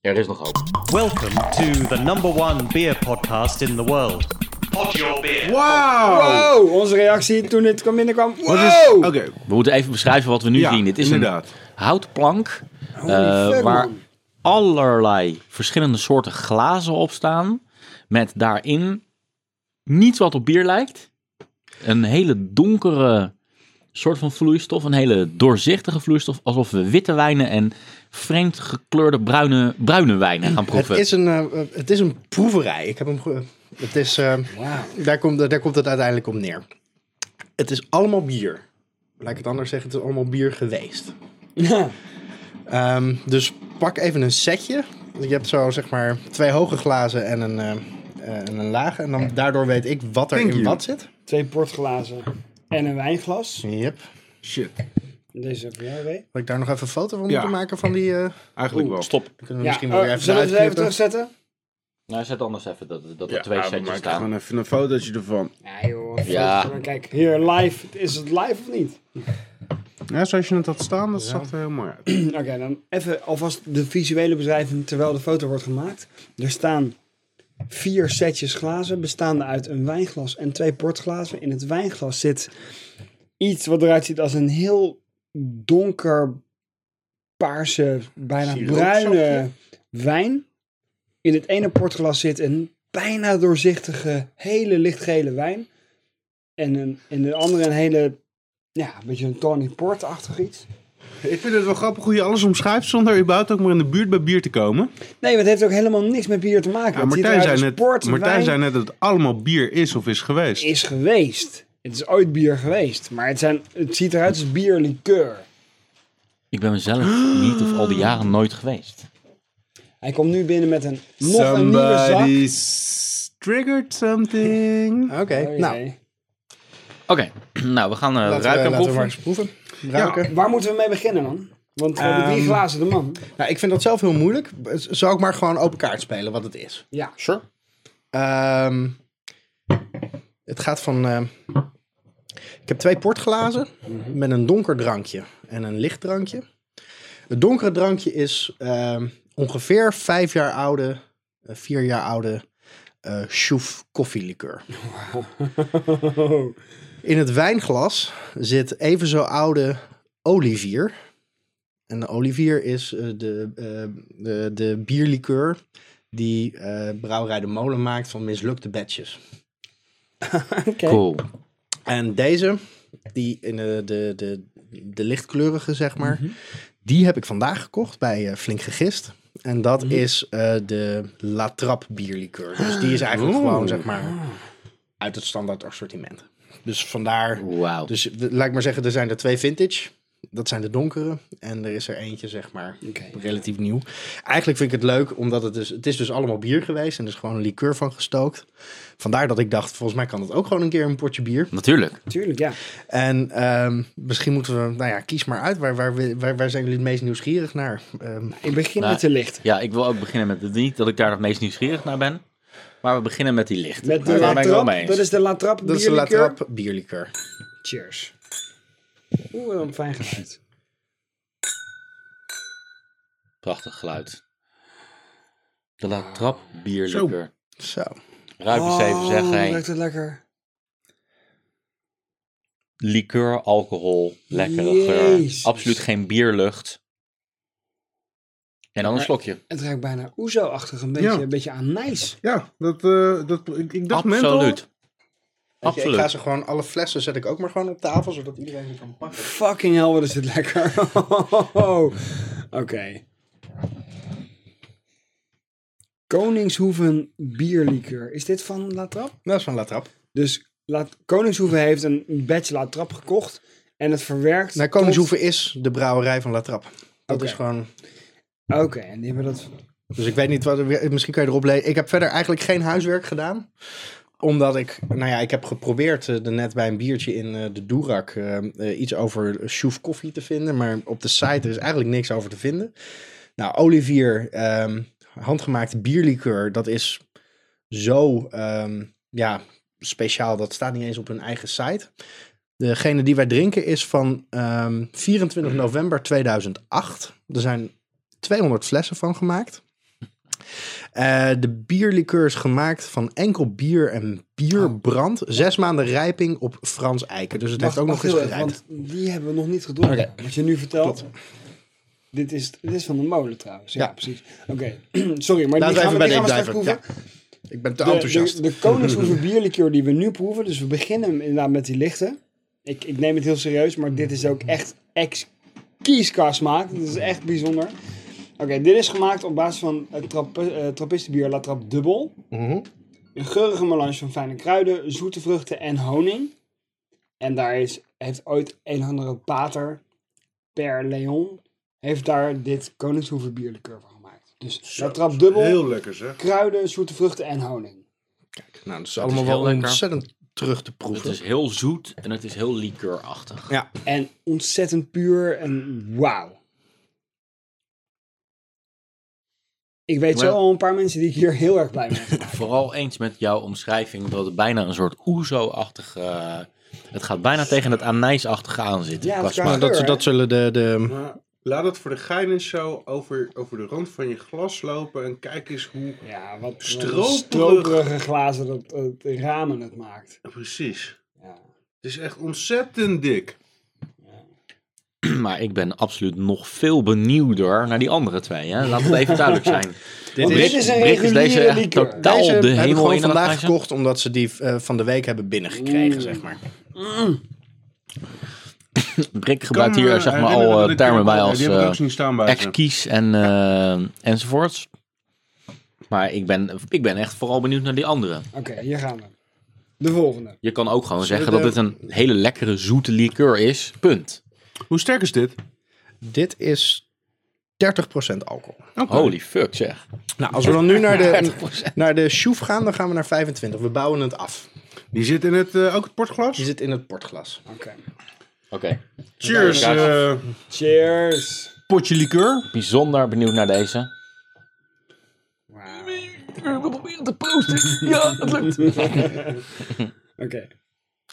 Er is nog hoop. Welcome to the number one beer podcast in the world. Pod Your Beer. Wauw! Wow, Oh, onze reactie toen dit kwam binnenkwam. Wow! Wat is... Dus- Oké. We moeten even beschrijven wat we nu Ja, zien. Dit is inderdaad. een houtplank eh, fuck, waar man. allerlei verschillende soorten glazen op staan. Met daarin niets wat op bier lijkt. Een hele donkere soort van vloeistof. Een hele doorzichtige vloeistof. Alsof we witte wijnen en vreemd gekleurde bruine, bruine wijnen gaan Het proeven. is, een, eh, het is een proeverij. Ik heb hem ge- het is, eh, daar, komt, daar komt het uiteindelijk om neer. Het is allemaal bier. Laat ik het anders zeggen, het is allemaal bier geweest. Ja. Ehm, dus pak even een setje. Je hebt zo zeg maar twee hoge glazen en een, eh, eh, en een lage. En dan, daardoor weet ik wat er Thank in you. wat zit. Twee portglazen en een wijnglas. Yep. Shit. Deze heb jij mee. Wil ik daar nog even een foto van Ja. moeten maken van die... eh die Eigenlijk wel. Stop. kunnen we Ja, misschien wel eh, weer even zullen we het even uitknippen. terugzetten? Nou, zet anders even dat, dat er Ja, twee we setjes maken staan. Gewoon even een fotootje ervan. Ja joh, Ja. even- kijk, hier live. Is het live of niet? Ja, zoals je het had staan, dat zag er heel mooi uit. Oké, dan even alvast de visuele beschrijving terwijl de foto wordt gemaakt. Er staan vier setjes glazen, bestaande uit een wijnglas en twee portglazen. In het wijnglas zit iets wat eruit ziet als een heel donker paarse, bijna Siroopsapje? bruine wijn. In het ene portglas zit een bijna doorzichtige, hele lichtgele wijn. En een, in de andere een hele, ja, een beetje een tonic port-achtig iets. Ik vind het wel grappig hoe je alles omschrijft zonder überhaupt ook maar in de buurt bij bier te komen. Nee, want het heeft ook helemaal niks met bier te maken. Ja, Het ziet Martijn, eruit zei als net, port, Martijn wijn. zei net dat het allemaal bier is of is geweest. is geweest. Het is ooit bier geweest. Maar het, zijn, het ziet eruit als bierlikeur. Ik ben mezelf niet of al die jaren nooit geweest. Hij komt nu binnen met een nog een nieuwe zak. s- triggered something. Oké, Oh jee. nou, Oké, nou we gaan eh, laten, we, ruiken en laten we maar eens proeven. proeven. Ruiken. Waar moeten we mee beginnen dan? Want we hebben drie Ehm, glazen de man. Nou, ik vind dat zelf heel moeilijk. Z- Zou ik maar gewoon open kaart spelen wat het is? Ja. Sure. Ehm, het gaat van. ehm, ik heb twee portglazen met een donker drankje en een licht drankje. Het donkere drankje is ehm, ongeveer vijf jaar oude, eh, vier jaar oude eh Sjoef koffielikeur. In het wijnglas zit even zo oude olivier. En de olivier is eh, de, eh, de, de bierlikeur die eh, Brouwerij de Molen maakt van mislukte batches. Cool. En deze, die in de, de, de, de lichtkleurige, zeg maar, die heb ik vandaag gekocht bij eh, Flink Gegist. En dat is eh, de La Trappe bierlikeur. Dus die is eigenlijk Oeh. gewoon, zeg maar, uit het standaard assortiment. Dus vandaar, Wauw. dus eh, laat ik maar zeggen, er zijn er twee vintage. Dat zijn de donkere. En er is er eentje, zeg maar, Oké. relatief nieuw. Eigenlijk vind ik het leuk, omdat het dus... Het is dus allemaal bier geweest en er is gewoon een liqueur van gestookt. Vandaar dat ik dacht, volgens mij kan dat ook gewoon een keer een potje bier. Natuurlijk. Tuurlijk, ja. En ehm, misschien moeten we... Nou ja, kies maar uit. Waar, waar, wi- waar, waar zijn jullie het meest nieuwsgierig naar? Ehm, Ik begin Nou, met de licht. Ja, ik wil ook beginnen met het niet dat ik daar het meest nieuwsgierig naar ben. Maar we beginnen met die licht. Met de Daar La ben ik wel mee Trappe. eens. Dat is de La Trappe dat is de La bierlikeur. Trappe bierlikeur. Cheers. Oeh, wat een fijn geluid. Prachtig geluid. De La Trappe bierlikker. Zo. Ruik eens even, zeg Oh, hij. ruikt het lekker. Likeur, alcohol, lekkere Jezus. geur. Absoluut geen bierlucht. En dan een slokje. Het ruikt bijna oezo-achtig. Een beetje, Ja. een beetje anijs. Ja, dat, eh, dat, ik, ik dacht menthol. Absoluut. Weet je, Ik ga Absoluut. ze gewoon... Alle flessen zet ik ook maar gewoon op tafel, zodat iedereen ze kan pakken. Fucking hell, wat is dit lekker. Oh. Oké. Koningshoeven bierlikeur. Is dit van La Trappe? Dat is van La Trappe. Dus La- Koningshoeven heeft een batch La Trappe gekocht. En het verwerkt... Nou, Koningshoeven is de brouwerij van La Trappe. Dat Oké. is gewoon... tot- Oké, en die hebben dat... Dus ik weet niet wat. er- Misschien kan je erop lezen. Ik heb verder eigenlijk geen huiswerk gedaan. Omdat ik. Nou ja, ik heb geprobeerd eh, er net bij een biertje in eh, de Doerak. eh, eh, iets over Sjoef koffie te vinden. Maar op de site er is eigenlijk niks over te vinden. Nou, Olivier. ehm handgemaakte bierlikeur. Dat is zo. ehm, ja, speciaal. Dat staat niet eens op hun eigen site. Degene die wij drinken is van ehm, 24 november 2008. Er zijn 200 flessen van gemaakt. Eh, de bierlikeur is gemaakt van enkel bier en bierbrand. Zes maanden rijping op Frans eiken. Dus het Oh. Wacht, heeft ook wacht nog eens heel even, gerijpt. Want die hebben we nog niet gedronken. Oké. Wat je nu vertelt... Klopt. Dit is, dit is van de molen trouwens. Ja, Ja. precies. Oké, sorry, maar Laten we die gaan even we, bij die gaan deze we straks blijven. proeven. Ja. Ik ben te De- enthousiast. De, de, koningshoeven bierlikeur die we nu proeven. Dus we beginnen hem inderdaad met die lichte. Ik, ik neem het heel serieus, maar dit is ook echt exquis qua smaak. Dit is echt bijzonder. Oké, dit is gemaakt op basis van het trap, eh, trappistenbier La Trappe Dubbel. Mhm. Een geurige melange van fijne kruiden, zoete vruchten en honing. En daar is, heeft ooit een of andere pater, Per Leon, heeft daar dit koningshoeven bierlikeur van gemaakt. Dus La Trappe Dubbel, Heel lekker zeg. kruiden, zoete vruchten en honing. Kijk, nou, dat is is allemaal heel wel lekker. ontzettend terug te proeven. Het is heel zoet en het is heel liqueurachtig. Ja. En ontzettend puur en wauw. Ik weet Wel- zo al een paar mensen die ik hier heel erg blij mee zijn. Vooral eens met jouw omschrijving dat het bijna een soort oezo-achtig... eh, het gaat bijna tegen het anijsachtige aan zitten. Ja, qua dat kan- smaak. Nou, dat, geur, dat hè? zullen de, de... Maar laat het voor de gein eens zo over, over de rand van je glas lopen en kijk eens hoe Ja, wat Stroperig. stroperige glazen dat het ramen het maakt. Precies. Ja. Het is echt ontzettend dik. Maar ik ben absoluut nog veel benieuwder naar die andere twee. Hè? Laat het even duidelijk zijn. Want Brit- dit is een Brit reguliere echt liqueur. totaal Deze de hebben hemel gewoon in aan het vandaag reizen. gekocht omdat ze die eh, van de week hebben binnengekregen, zeg maar. Brik gebruikt hier zeg maar al eh, termen bij als Die heb ik eh ook zien staan bij ze. ex-kies en, eh enzovoorts. Maar ik ben, ik ben echt vooral benieuwd naar die andere. Oké, hier gaan we. De volgende. Je kan ook gewoon zeggen we dat dit een hele lekkere zoete liqueur is. Punt. Hoe sterk is dit? Dit is 30% alcohol. Oké. Holy fuck zeg. Nou, als we dan nu naar de, naar de sjoef gaan, dan gaan we naar 25. We bouwen het af. Die zit in het, eh, ook het Die portglas? zit in het portglas. Oké. Oké. Cheers. Ja, eh Cheers. potje liqueur. Bijzonder benieuwd naar deze. Ik wil proberen te proosten. Ja, dat lukt. Oké.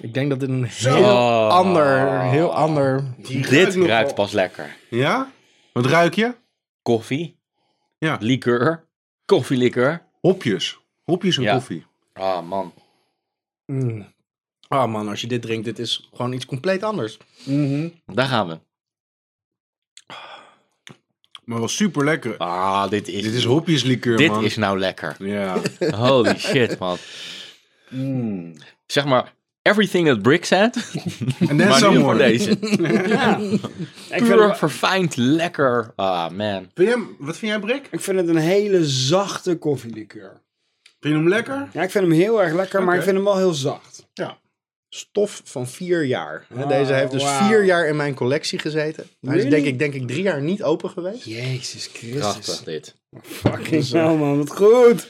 Ik denk dat dit een heel ander, heel ander... Dit ruikt pas lekker. Ja? Wat ruik je? Koffie. Ja. Liqueur. Koffieliqueur. Hopjes. Hopjes en Ja. koffie. Ah man. Mm. Oh man, als je dit drinkt, dit is gewoon iets compleet anders. Daar gaan we. Maar wel super lekker. Ah, dit is... Dit is hopjes liqueur, dit man. is nou lekker. Ja. Holy shit, man. Zeg maar, everything that Brick said, En net maar zo nu voor mooi. deze. Ik vind, Puur, het, verfijnd, lekker. Ah, man. Vind jij- wat vind jij, Brik? ik vind het een hele zachte koffielikeur. Vind je hem lekker? Ja, ik vind hem heel erg lekker, maar Oké. ik vind hem wel heel zacht. Stof van vier jaar. Hè, Ah, Deze heeft dus wauw. vier jaar in mijn collectie gezeten. Hij is Really? denk ik, denk ik drie jaar niet open geweest. Jezus Prachtig, Christus. dit. Fucking hell man, wat goed.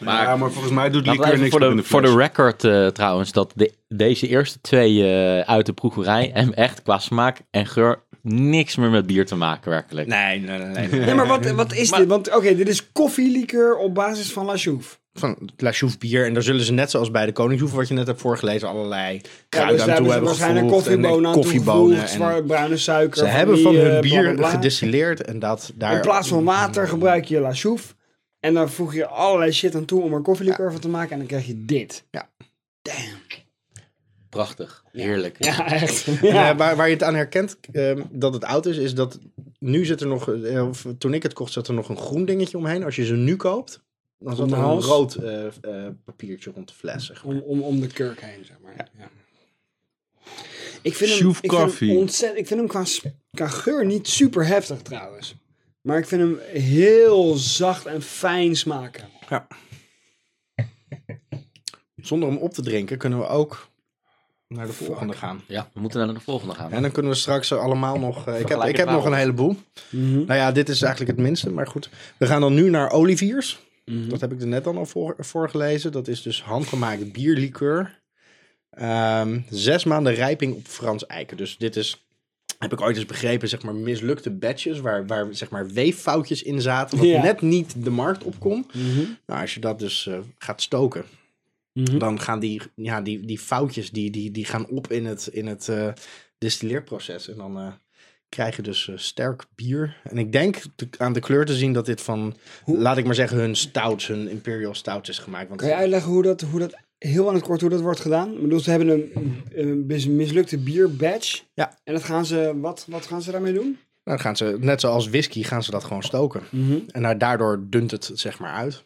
Maar- ja, maar volgens mij doet Laten we liqueur even niks voor meer in de, de voor fles. de record eh, trouwens, dat de, deze eerste twee eh, uit de proeverij en echt qua smaak en geur niks meer met bier te maken, werkelijk. Nee, nee, nee. nee. Ja, maar wat, wat is dit? Want oké, dit is koffielikeur op basis van La Chouffe. Van La Chouffe bier. En daar zullen ze net zoals bij de Koningshoef, wat je net hebt voorgelezen, allerlei Ja, dus kruiden daar aan toe hebben ze hebben waarschijnlijk gevoegd. en koffiebonen aan koffiebonen toegevoegd, en- zwarte- bruine suiker. Ze hebben die, van eh, hun bla, bier bla, bla. gedistilleerd en dat daar... In plaats van water gebruik je La Chouffe. En daar voeg je allerlei shit aan toe om er koffielikeur van te maken. En dan krijg je dit. Prachtig. Heerlijk. Ja, echt. En, eh, waar, waar je het aan herkent ehm, dat het oud is, is dat nu zit er nog, eh, of toen ik het kocht, zat er nog een groen dingetje omheen. Als je ze nu koopt, dan zat Om er de een hals? rood eh, eh, papiertje rond de fles. Zeg. maar. Om, om, om de kurk heen, zeg maar. Ja. Ik, vind hem, Chouf ik, vind hem koffie. ontzettend, ik vind hem qua, s- qua geur niet super heftig trouwens. Maar ik vind hem heel zacht en fijn smaken. Zonder hem op te drinken kunnen we ook naar de volgende gaan. Ja, we moeten naar de volgende gaan. En dan kunnen we straks allemaal nog. eh, ik heb, Vergelijk ik het heb nog maar een op. heleboel. Nou ja, dit is eigenlijk het minste, maar goed. We gaan dan nu naar Oliviers. Dat heb ik er net al voor, voorgelezen. Dat is dus handgemaakt bierlikeur. Ehm, zes maanden rijping op Frans eiken. Dus dit is, heb ik ooit eens begrepen, zeg maar mislukte batches. Waar, waar zeg maar weeffoutjes in zaten. Wat Ja. net niet de markt opkomt. Nou, als je dat dus eh, gaat stoken, Mhm. dan gaan die, ja, die, die foutjes die, die, die gaan op in het, in het eh, distilleerproces. En dan eh, krijg je dus eh, sterk bier. En ik denk te- aan de kleur te zien dat dit van, laat ik maar zeggen, hun stouts, hun imperial stouts is gemaakt. Want Kan je uitleggen hoe dat, hoe dat heel aan het kort hoe dat wordt gedaan? Ik bedoel, ze hebben een, een mis- mislukte bierbatch. Ja. En dat gaan ze, wat, wat gaan ze daarmee doen? nou, dan gaan ze, net zoals whisky, gaan ze dat gewoon stoken. Mhm. En daar- daardoor dunt het zeg maar uit.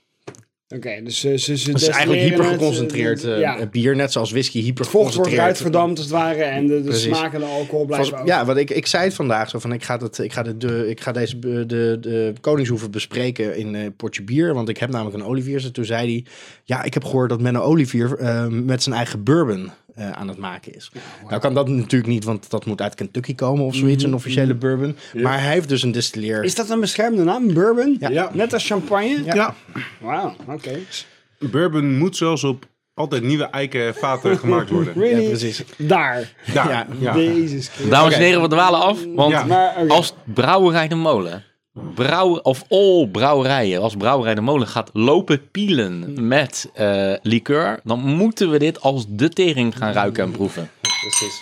Oké, dus ze, ze, ze Het is eigenlijk destilleren het, hypergeconcentreerd eh, eh, ja. bier, net zoals Het whisky vocht wordt hypergeconcentreerd. eruit verdampt als het ware. En de, de Precies. smaak en de alcohol Vast- blijven ook. ja, wat ik, ik zei het vandaag zo van ik ga, dat, ik ga, de, de, ik ga deze eh, de, de Koningshoeven bespreken in eh Portje Bier, want ik heb namelijk een Olivier. En toen zei hij, ja, ik heb gehoord dat Menno Olivier eh, met zijn eigen bourbon eh, aan het maken is. Nou kan dat natuurlijk niet, want dat moet uit Kentucky komen of zoiets, een officiële bourbon. Maar hij heeft dus een distilleer. Mhm. Is dat een beschermde naam? Bourbon? Ja. Net als champagne? Ja. Ja, Wauw, oké. bourbon moet zelfs op altijd nieuwe eikenvaten gemaakt worden. Really? Ja, precies. Daar. Daar, Ja. ja. Jezus Christus. Dames en heren, we dwalen af, want Ja. Maar, oh oké. als Brouwerij de Molen, brouwen, of all brouwerijen, als Brouwerij de Molen gaat lopen pielen met eh liqueur, dan moeten we dit als de tering gaan ruiken en proeven. precies.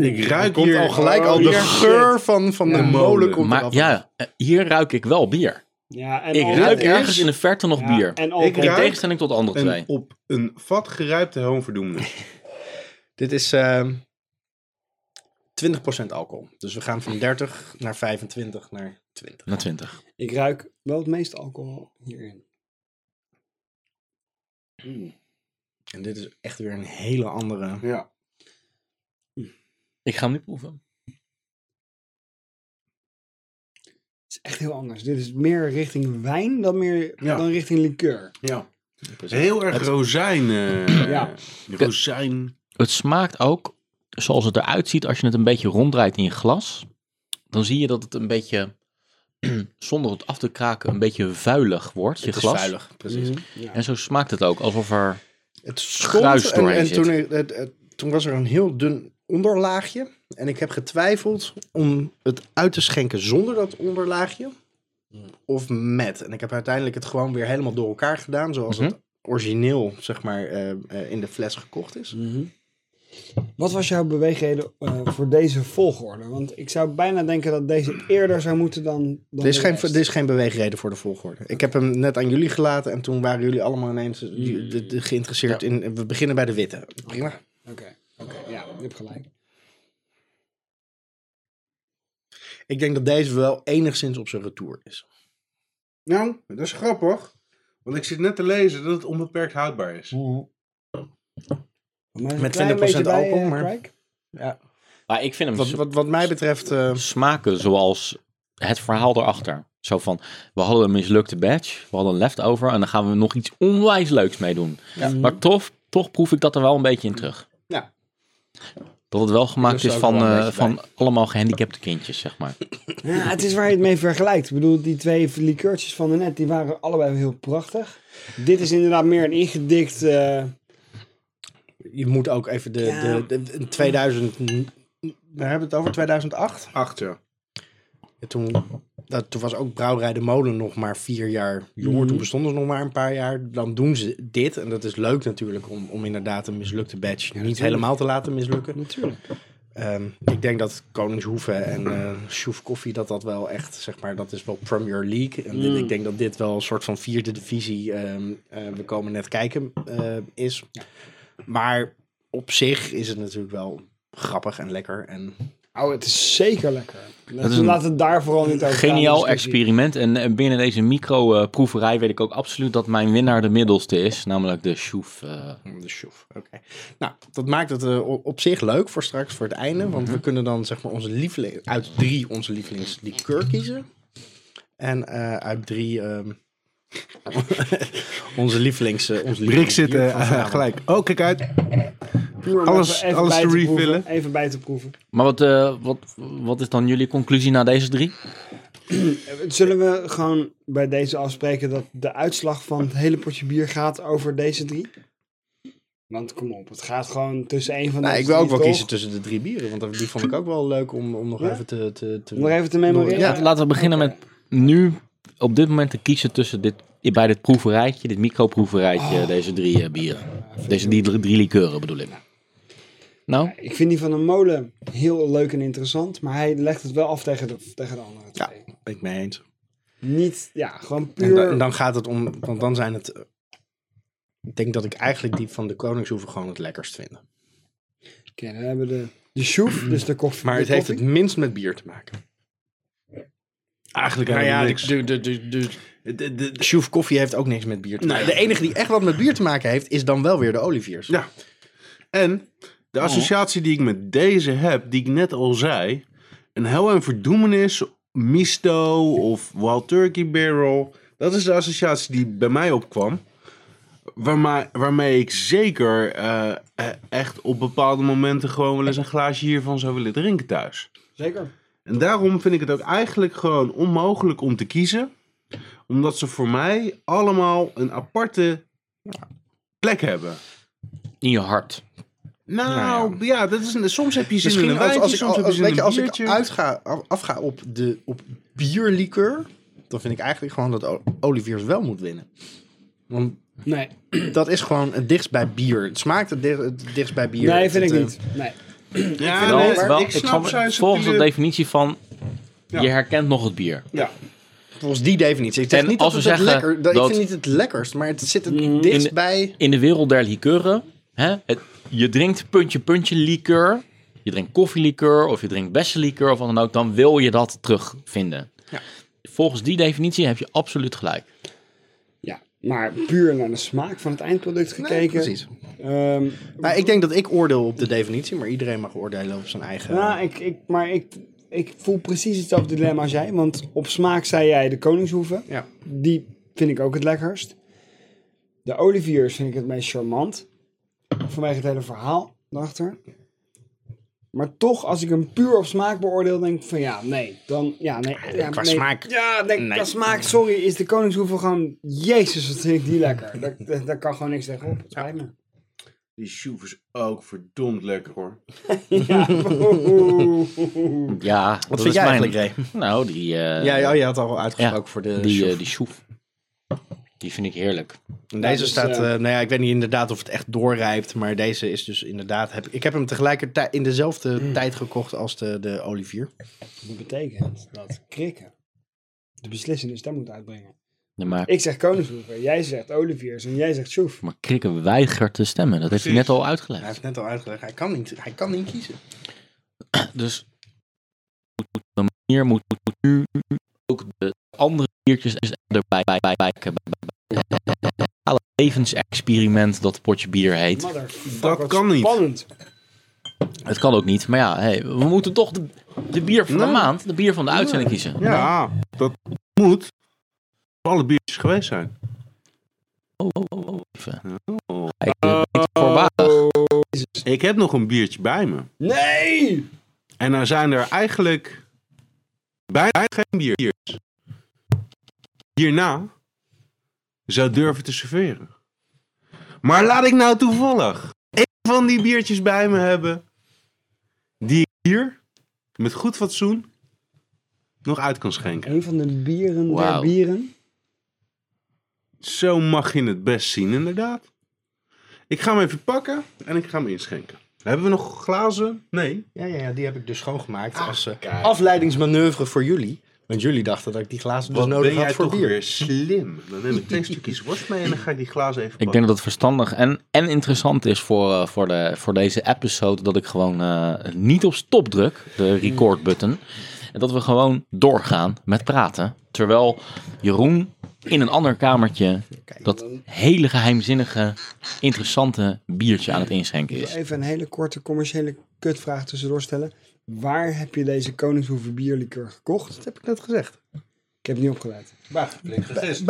Ik ruik Komt hier al gelijk al oh, de hier. geur van, van de Ja. molen komt Maar eraf. ja, eh, hier ruik ik wel bier. Ja, en Ik al- ruik en- ergens in de verte nog ja, bier. En Ik alcohol. In ruik- tegenstelling tot de andere twee. een, op een vat gerijpte hoonverdoemde. Dit is ehm 20% alcohol. Dus we gaan van 30 naar 25 naar 20. Na 20. Ik ruik wel het meeste alcohol hierin. En dit is echt weer een hele andere. Ja. Ik ga hem nu proeven. Het is echt heel anders. Dit is meer richting wijn dan, meer, Ja. dan richting liqueur. ja. Heel erg rozijn. eh, Ja. Rozijn. Het smaakt ook zoals het eruit ziet als je het een beetje ronddraait in je glas. Dan zie je dat het een beetje, zonder het af te kraken, een beetje vuilig wordt, je Het is glas. vuilig, precies. Ja. En zo smaakt het ook, alsof er... Het Gruis stond en, doorheen en zit. toen, er- het- het- toen was er een heel dun onderlaagje. En ik heb getwijfeld om het uit te schenken zonder dat onderlaagje. Of met. En ik heb uiteindelijk het gewoon weer helemaal door elkaar gedaan. Zoals het origineel, zeg maar, eh, eh, in de fles gekocht is. Wat was jouw beweegreden eh, voor deze volgorde? Want ik zou bijna denken dat deze eerder zou moeten dan. dan Er is, de geen, rest. er is geen beweegreden voor de volgorde. Ik heb hem net aan jullie gelaten. En toen waren jullie allemaal ineens eh, ju- de- de- geïnteresseerd in... eh, We beginnen bij de witte. Prima. Oké, oké, ja, je hebt gelijk. Ik denk dat deze wel enigszins op zijn retour is. Nou, dat is grappig. Want ik zit net te lezen dat het onbeperkt houdbaar is. Voor mij is het Met een klein 20% beetje bij, alcohol, eh, maar- Craig. Ja. Maar ik vind hem Wat, zo- wat, wat mij betreft... eh, smaken zoals het verhaal erachter. Zo van, we hadden een mislukte batch, we hadden een leftover en dan gaan we nog iets onwijs leuks mee doen. Maar toch, toch proef ik dat er wel een beetje in terug. Ja. Dat het wel gemaakt Dus is ook van, wel een eh, beetje van allemaal gehandicapte kindjes, zeg maar. Ja, het is waar je het mee vergelijkt. Ik bedoel, die twee liqueurtjes van de net, die waren allebei heel prachtig. Dit is inderdaad meer een ingedikt. eh, Je moet ook even de, Ja. de, de, in 2000. Waar hebben we het over? 2008. Acht, ja. Ja, toen, dat, toen was ook Brouwerij de Molen nog maar vier jaar jonger. Toen bestonden ze nog maar een paar jaar. Dan doen ze dit. En dat is leuk natuurlijk om, om inderdaad een mislukte badge niet helemaal te laten mislukken. Natuurlijk. ik denk dat Koningshoeve en eh Sjoef Koffie dat dat wel echt, zeg maar, dat is wel Premier League. En dit- ik denk dat dit wel een soort van vierde divisie, ehm, eh, we komen net kijken, eh, is. Maar op zich is het natuurlijk wel grappig en lekker. En Oh, het is zeker lekker. Laten is we een laten het daar vooral niet over gaan, Geniaal discussie. experiment. En eh, binnen deze micro-proeverij weet ik ook absoluut dat mijn winnaar de middelste is. Namelijk de Sjoef. eh. De sjoef, oké. Nou, dat maakt het eh, o- op zich leuk voor straks, voor het einde. Want Mhm. we kunnen dan zeg maar onze lieveling... Uit drie onze lievelingslikeur kiezen. En eh, uit drie... ehm, onze lievelings... eh, onze Rick zit lievelingsbier eh, van vanavond. gelijk. Oh, kijk uit. Puur om Alles- even- even alles bij te proeven, refillen. even bij te proeven. Maar wat, eh, wat, wat is dan jullie conclusie na deze drie? Zullen we gewoon bij deze afspreken dat de uitslag van het hele potje bier gaat over deze drie? Want kom op, het gaat gewoon tussen één van Nou, deze ik wil ook drie, wel toch? kiezen tussen de drie bieren. Want die vond ik ook wel leuk om, om nog Ja? even te... te, te Om nog even te memoreren. Ja, Laten we beginnen met nu op dit moment te kiezen tussen dit, bij dit proeverijtje, dit microproeverijtje, Oh. deze drie eh, bieren. Deze die drie, drie likeuren bedoel ik. Nou, Ik vind die van de molen heel leuk en interessant, maar hij legt het wel af tegen de, tegen de andere Ja, twee. ik mee eens. Niet, ja, gewoon En, puur... da- en dan gaat het om... Want dan zijn het... eh, ik denk dat ik eigenlijk die van de Koningshoeve gewoon het lekkerst vind. Oké, dan hebben we de, de sjoef, dus de koffie. Mm. Maar de het heeft het koffie. minst met bier te maken. Eigenlijk Nou helemaal ja, niks. de, de, de, de, De- de- de- Sjoef Koffie heeft ook niks met bier te maken. Nee. De enige die echt wat met bier te maken heeft, is dan wel weer de Oliviers. Ja. En de associatie die ik met deze heb, die ik net al zei, een hel en verdoemenis, misto of wild turkey barrel, dat is de associatie die bij mij opkwam. Waarmee, waarmee ik zeker eh, eh, echt op bepaalde momenten gewoon wel eens een glaasje hiervan zou willen drinken thuis. Zeker. En daarom vind ik het ook eigenlijk gewoon onmogelijk om te kiezen. Omdat ze voor mij allemaal een aparte plek hebben. in je hart. Nou, Nou ja, dat is een, soms heb je zin in Misschien een als, wijntje, als, ik, soms als, heb je zin weet in je, een als ik biertje. uitga, af- afga op, de, op bierlikeur, dan vind ik eigenlijk gewoon dat O- Oliviers wel moet winnen. Want Nee, dat is gewoon het dichtst bij bier. Het smaakt het, dicht- het dichtst bij bier. nee vind ik Het, eh, niet. Nee. ja, Wel- nee, wel, ik snap snap- zijn volgens de subtiele- definitie van, je herkent nog het bier. Ja. Volgens die definitie. Ik zeg En niet als dat we het het zeggen lekker, dat, dat- Ik vind niet het lekkerst, maar het zit het Mm, dichtst In- bij... In de wereld der likeuren, hè, het, je drinkt puntje puntje likeur, je drinkt koffielikeur of je drinkt bessenlikeur of wat dan ook, dan wil je dat terugvinden. Ja. Volgens die definitie heb je absoluut gelijk. Ja, Maar puur naar de smaak van het eindproduct gekeken. precies. Ehm, Nou, ik denk dat ik oordeel op de definitie, maar iedereen mag oordelen op zijn eigen. nou, ik, ik, maar ik, ik voel precies hetzelfde dilemma als jij. Want op smaak zei jij de Koningshoeve. ja. Die vind ik ook het lekkerst. De oliviers vind ik het meest charmant. Vanwege het hele verhaal erachter. Maar toch, als ik hem puur op smaak beoordeel, denk ik van ja, nee. Dan, ja, nee. Ja, qua nee. smaak. Ja, denk, Nee. qua smaak, sorry, is de koningshoeve gewoon... Jezus, wat vind ik die lekker. Daar, daar, daar kan gewoon niks tegen op. Het spijt me. Die shoef is ook verdomd lekker hoor. Ja. Ja, wat Wat vind jij eigenlijk, Ray? Nou, die, eh, Ja, ja, je had al uitgesproken voor de. die, chauffeur. eh, die soef. Die vind ik heerlijk. Deze dus, staat, eh, eh, nou ja, ik weet niet inderdaad of het echt doorrijpt, maar deze is dus inderdaad. Heb, ik heb hem tegelijkertijd in dezelfde Mm. tijd gekocht als de, de Olivier. Dat betekent dat krikken de beslissende stem moet uitbrengen. Ja, Maar, Ik zeg koningshoeve, jij zegt oliviers en jij zegt soef. maar Krikken weigert te stemmen. Dat heeft hij net Precies. al Hij uitgelegd. heeft net al uitgelegd, hij kan niet, hij kan niet kiezen. Dus moet de manier moet, moet- moet nu ook de andere biertjes erbij bij, bij, bij, bij, bij- bij- bij- alle levensexperiment dat potje bier heet. Motherfucker, Dat wat kan niet. Spannend. Het kan ook niet, maar ja, hey, we moeten toch de, de bier van de Nee. maand, de bier van de uitzending kiezen. Nou, Ja, Nou, dat moet. Alle biertjes geweest zijn. Oh, oh, oh, oh, even. Oh. Kijk, eh, kijk, voorbarig. Ik heb nog een biertje bij me. Nee! En dan zijn er eigenlijk bijna geen biertjes. Hierna zou durven te serveren. Maar laat ik nou toevallig één van die biertjes bij me hebben. Die ik hier met goed fatsoen nog uit kan schenken. Een van de bieren Wauw. der bieren. Zo mag je het best zien, inderdaad. Ik ga hem even pakken en ik ga hem inschenken. Hebben we nog glazen? Nee. Ja, ja, ja die heb ik dus schoongemaakt als eh, afleidingsmanoeuvre voor jullie. Want jullie dachten dat ik die glazen dus Wat nodig ben had jij voor toch bier. weer slim. Dan neem ik twee stukjes worst mee en dan ga ik die glazen even Ik pakken. denk dat het verstandig en, en interessant is voor, eh, voor, de, voor deze episode dat ik gewoon eh, niet op stop druk, de record button. En dat we gewoon doorgaan met praten. Terwijl Jeroen in een ander kamertje dat hele geheimzinnige, interessante biertje aan het inschenken is. Even een hele korte commerciële kutvraag tussendoor stellen. Waar heb je deze Koningshoeve bierlikeur gekocht? Dat heb ik net gezegd. Ik heb het niet opgelet. Waar? Bij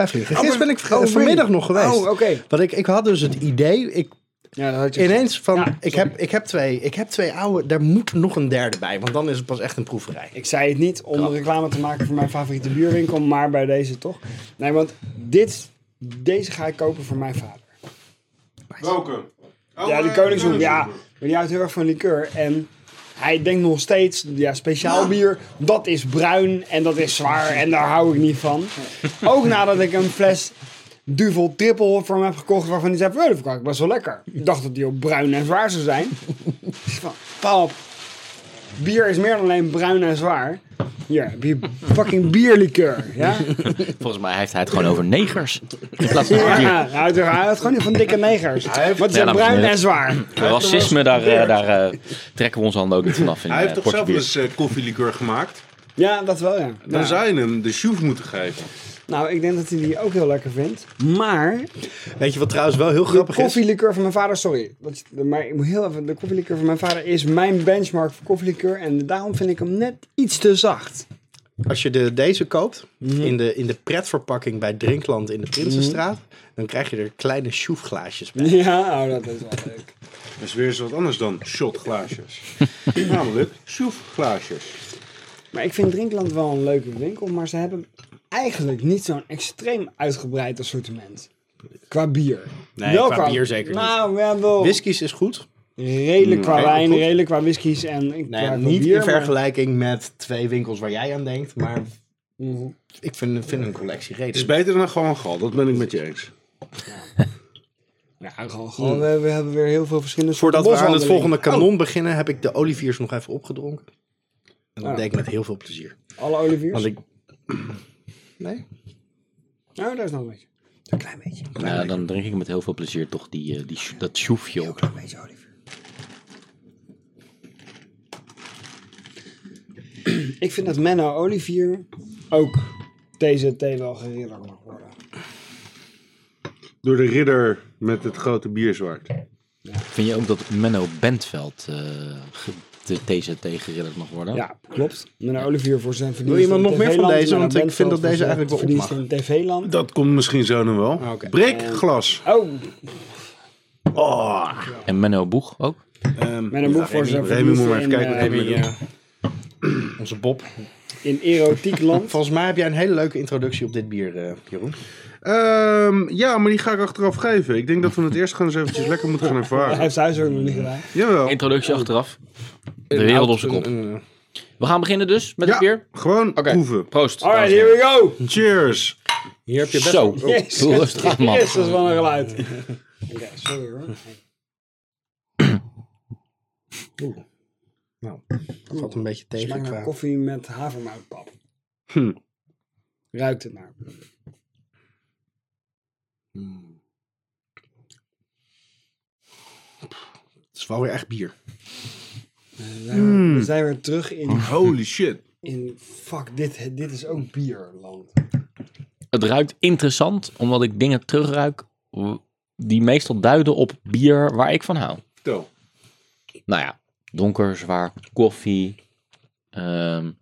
Vliegen. Gisteren ben ik ver- Oh, nee. vanmiddag nog geweest. Oh, oké. Want ik, ik had dus het idee, ik, Ja, dat had je ineens van, Ja, ik, heb, ik, heb twee, ik heb twee oude, daar moet nog een derde bij. Want dan is het pas echt een proeverij. Ik zei het niet om reclame te maken voor mijn favoriete bierwinkel, maar bij deze toch. Nee, want dit, deze ga ik kopen voor mijn vader. Welke? ja, die koningshoek, Oh, ja. Maar die houdt heel erg van liqueur. En hij denkt nog steeds, ja, speciaal bier, dat is bruin en dat is zwaar en daar hou ik niet van. Ook nadat ik een fles Duvel Triple voor hem heb gekocht, waarvan hij zei, van, "Oh, dat vond ik best wel lekker. Ik dacht dat die ook bruin en zwaar zou zijn. Ik zei van, "Pa, bier is meer dan alleen bruin en zwaar. Hier, heb je fucking bierlikeur, ja? Volgens mij heeft hij het gewoon over negers. In plaats van bier. Ja, hij houdt, hij houdt gewoon niet van dikke negers. Wat is Ja, dat, dames en bruin heren. en zwaar? Racisme, daar, eh, daar eh, trekken we ons handen ook niet vanaf in Hij heeft eh, toch zelf Portubier. eens eh, koffielikeur gemaakt? Ja, dat wel, ja. Dan Ja. zou je hem de sjoef moeten geven. Nou, ik denk dat hij die ook heel lekker vindt. Maar Weet je wat trouwens wel heel de grappig is? koffielikeur van mijn vader, sorry. Dat is, maar ik moet heel even, de koffielikeur van mijn vader is mijn benchmark voor koffielikeur. En daarom vind ik hem net iets te zacht. Als je de, deze koopt, in, de, in de pretverpakking bij Drinkland in de Prinsenstraat, dan krijg je er kleine sjoefglaasjes bij. Ja, oh, dat is wel leuk. Dat is weer eens wat anders dan shotglaasjes. Namelijk sjoefglaasjes. Maar ik vind Drinkland wel een leuke winkel. Maar ze hebben eigenlijk niet zo'n extreem uitgebreid assortiment. Qua bier. Nee, qua bier zeker niet. Nou, ja, wel Whiskies is goed. redelijk qua Nee, wijn, goed. redelijk qua whiskies en ik Nee, qua niet bier, in maar- vergelijking met twee winkels waar jij aan denkt, maar Mhm. ik vind, vind een collectie Het is redelijk. beter dan gewoon gal, dat ben ik met je eens. Ja, gewoon, gewoon, we, we hebben weer heel veel verschillende Voordat we soorten aan het volgende boswandelingen. kanon beginnen, heb ik de oliviers nog even opgedronken. En dat Ah. deed ik met heel veel plezier. Alle oliviers? Want ik... Nee? Nou, daar is nog een beetje. Een klein beetje. Een Ja, Nou, dan drink ik met heel veel plezier toch die, eh, die, sjo- dat sjoefje op. klein beetje olivier. Ik vind dat Menno Olivier ook deze thee wel geridderd mag worden. door de ridder met het grote bierzwaard. Vind je ook dat Menno Bentveld eh, ge- de deze tegenridder mag worden? Ja, klopt. Meneer Olivier voor zijn verdiensten. iemand in nog meer van TV-land, deze? meneer Want ik vind Bentveld dat voor deze zijn eigenlijk wel verdiensten in TV-land. Dat komt misschien zo nog wel. Oké. Breekglas. Oh, Oh. En Menno Boeg ook? Ehm, met een boek ja, voor zijn Remy, moet maar verdiensten even in, kijken wat hij eh, mee doet. Onze Bob. in erotiekland. Volgens mij heb jij een hele leuke introductie op dit bier, eh, Jeroen. Ehm, ja, maar die ga ik achteraf geven. Ik denk dat we het eerst gewoon eens eventjes lekker moeten gaan Hij ervaren. heeft zijn huiswerk nog niet gedaan. Jawel. Introductie achteraf. De wereld op zijn kop. We gaan beginnen dus met Ja, het bier. Gewoon proeven. Proost. Alright, dames en here heren. we go. Cheers. Hier heb je best Zo, Yes. hoe Oh, rustig aan, man. Yes, dat is wel een geluid. Oké, sorry hoor. Nou, dat valt een beetje Het tegen smaakt qua... naar nou koffie met havermoutpap. Hm. Ruikt het naar. Het is wel weer echt bier. We zijn Hm. weer- We zijn weer terug in, Holy shit. in fuck, dit, dit is ook bierland. Het ruikt interessant, omdat ik dingen terugruik w- die meestal duiden op bier waar ik van hou. Vertel. Nou ja, donker, zwaar, koffie. ehm,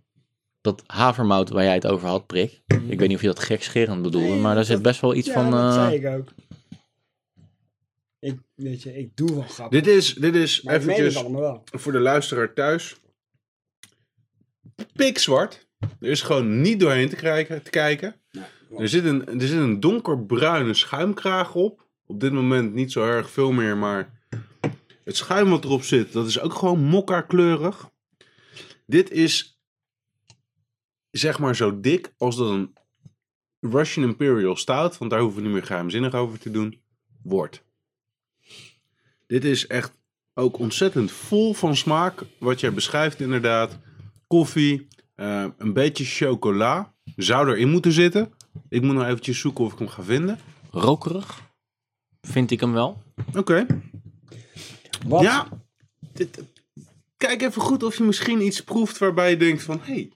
dat havermout waar jij het over had, Prik. Ik weet niet of je dat gekscherend bedoelde, Nee, maar daar dat- zit best wel iets ja, van... dat eh, zei ik ook. Ik, weet je, ik doe wel grappig. Dit is, dit is maar ik meen het eventjes allemaal wel. voor de luisteraar thuis. Pikzwart. Er is gewoon niet doorheen te, krijgen, te kijken. Er zit, een, er zit een donkerbruine schuimkraag op. Op dit moment niet zo erg veel meer, maar het schuim wat erop zit, dat is ook gewoon mokka kleurig. Dit is zeg maar zo dik als dat een Russian Imperial Stout, want daar hoeven we niet meer geheimzinnig over te doen, wordt. Dit is echt ook ontzettend vol van smaak. Wat jij beschrijft inderdaad. Koffie, eh, een beetje chocola. Zou erin moeten zitten. Ik moet nog eventjes zoeken of ik hem ga vinden. rokerig, vind ik hem wel. Oké. Wat? Ja. Dit, eh, kijk even goed of je misschien iets proeft waarbij je denkt van... Hé, hey,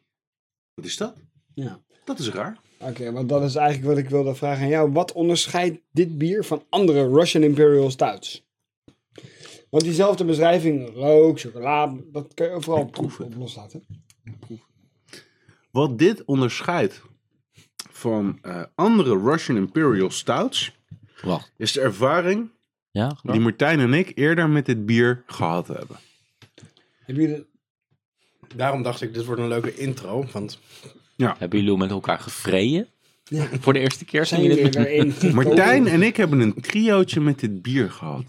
wat is dat? Ja. Dat is raar. Oké, want dat is eigenlijk wat ik wilde vragen aan jou. Wat onderscheidt dit bier van andere Russian Imperial Stouts? Want diezelfde beschrijving, rook, chocola, dat kun je overal proeven op loslaten. Wat dit onderscheidt van eh, andere Russian Imperial Stouts... Wacht, is de ervaring ja? ga door. die Martijn en ik eerder met dit bier gehad hebben. Hebben jullie... Daarom dacht ik, dit wordt een leuke intro. Want Hebben jullie met elkaar gevreden? Voor de eerste keer Zijn zien jullie jullie dit er in? Dus Martijn en ik hebben een triootje met dit bier gehad.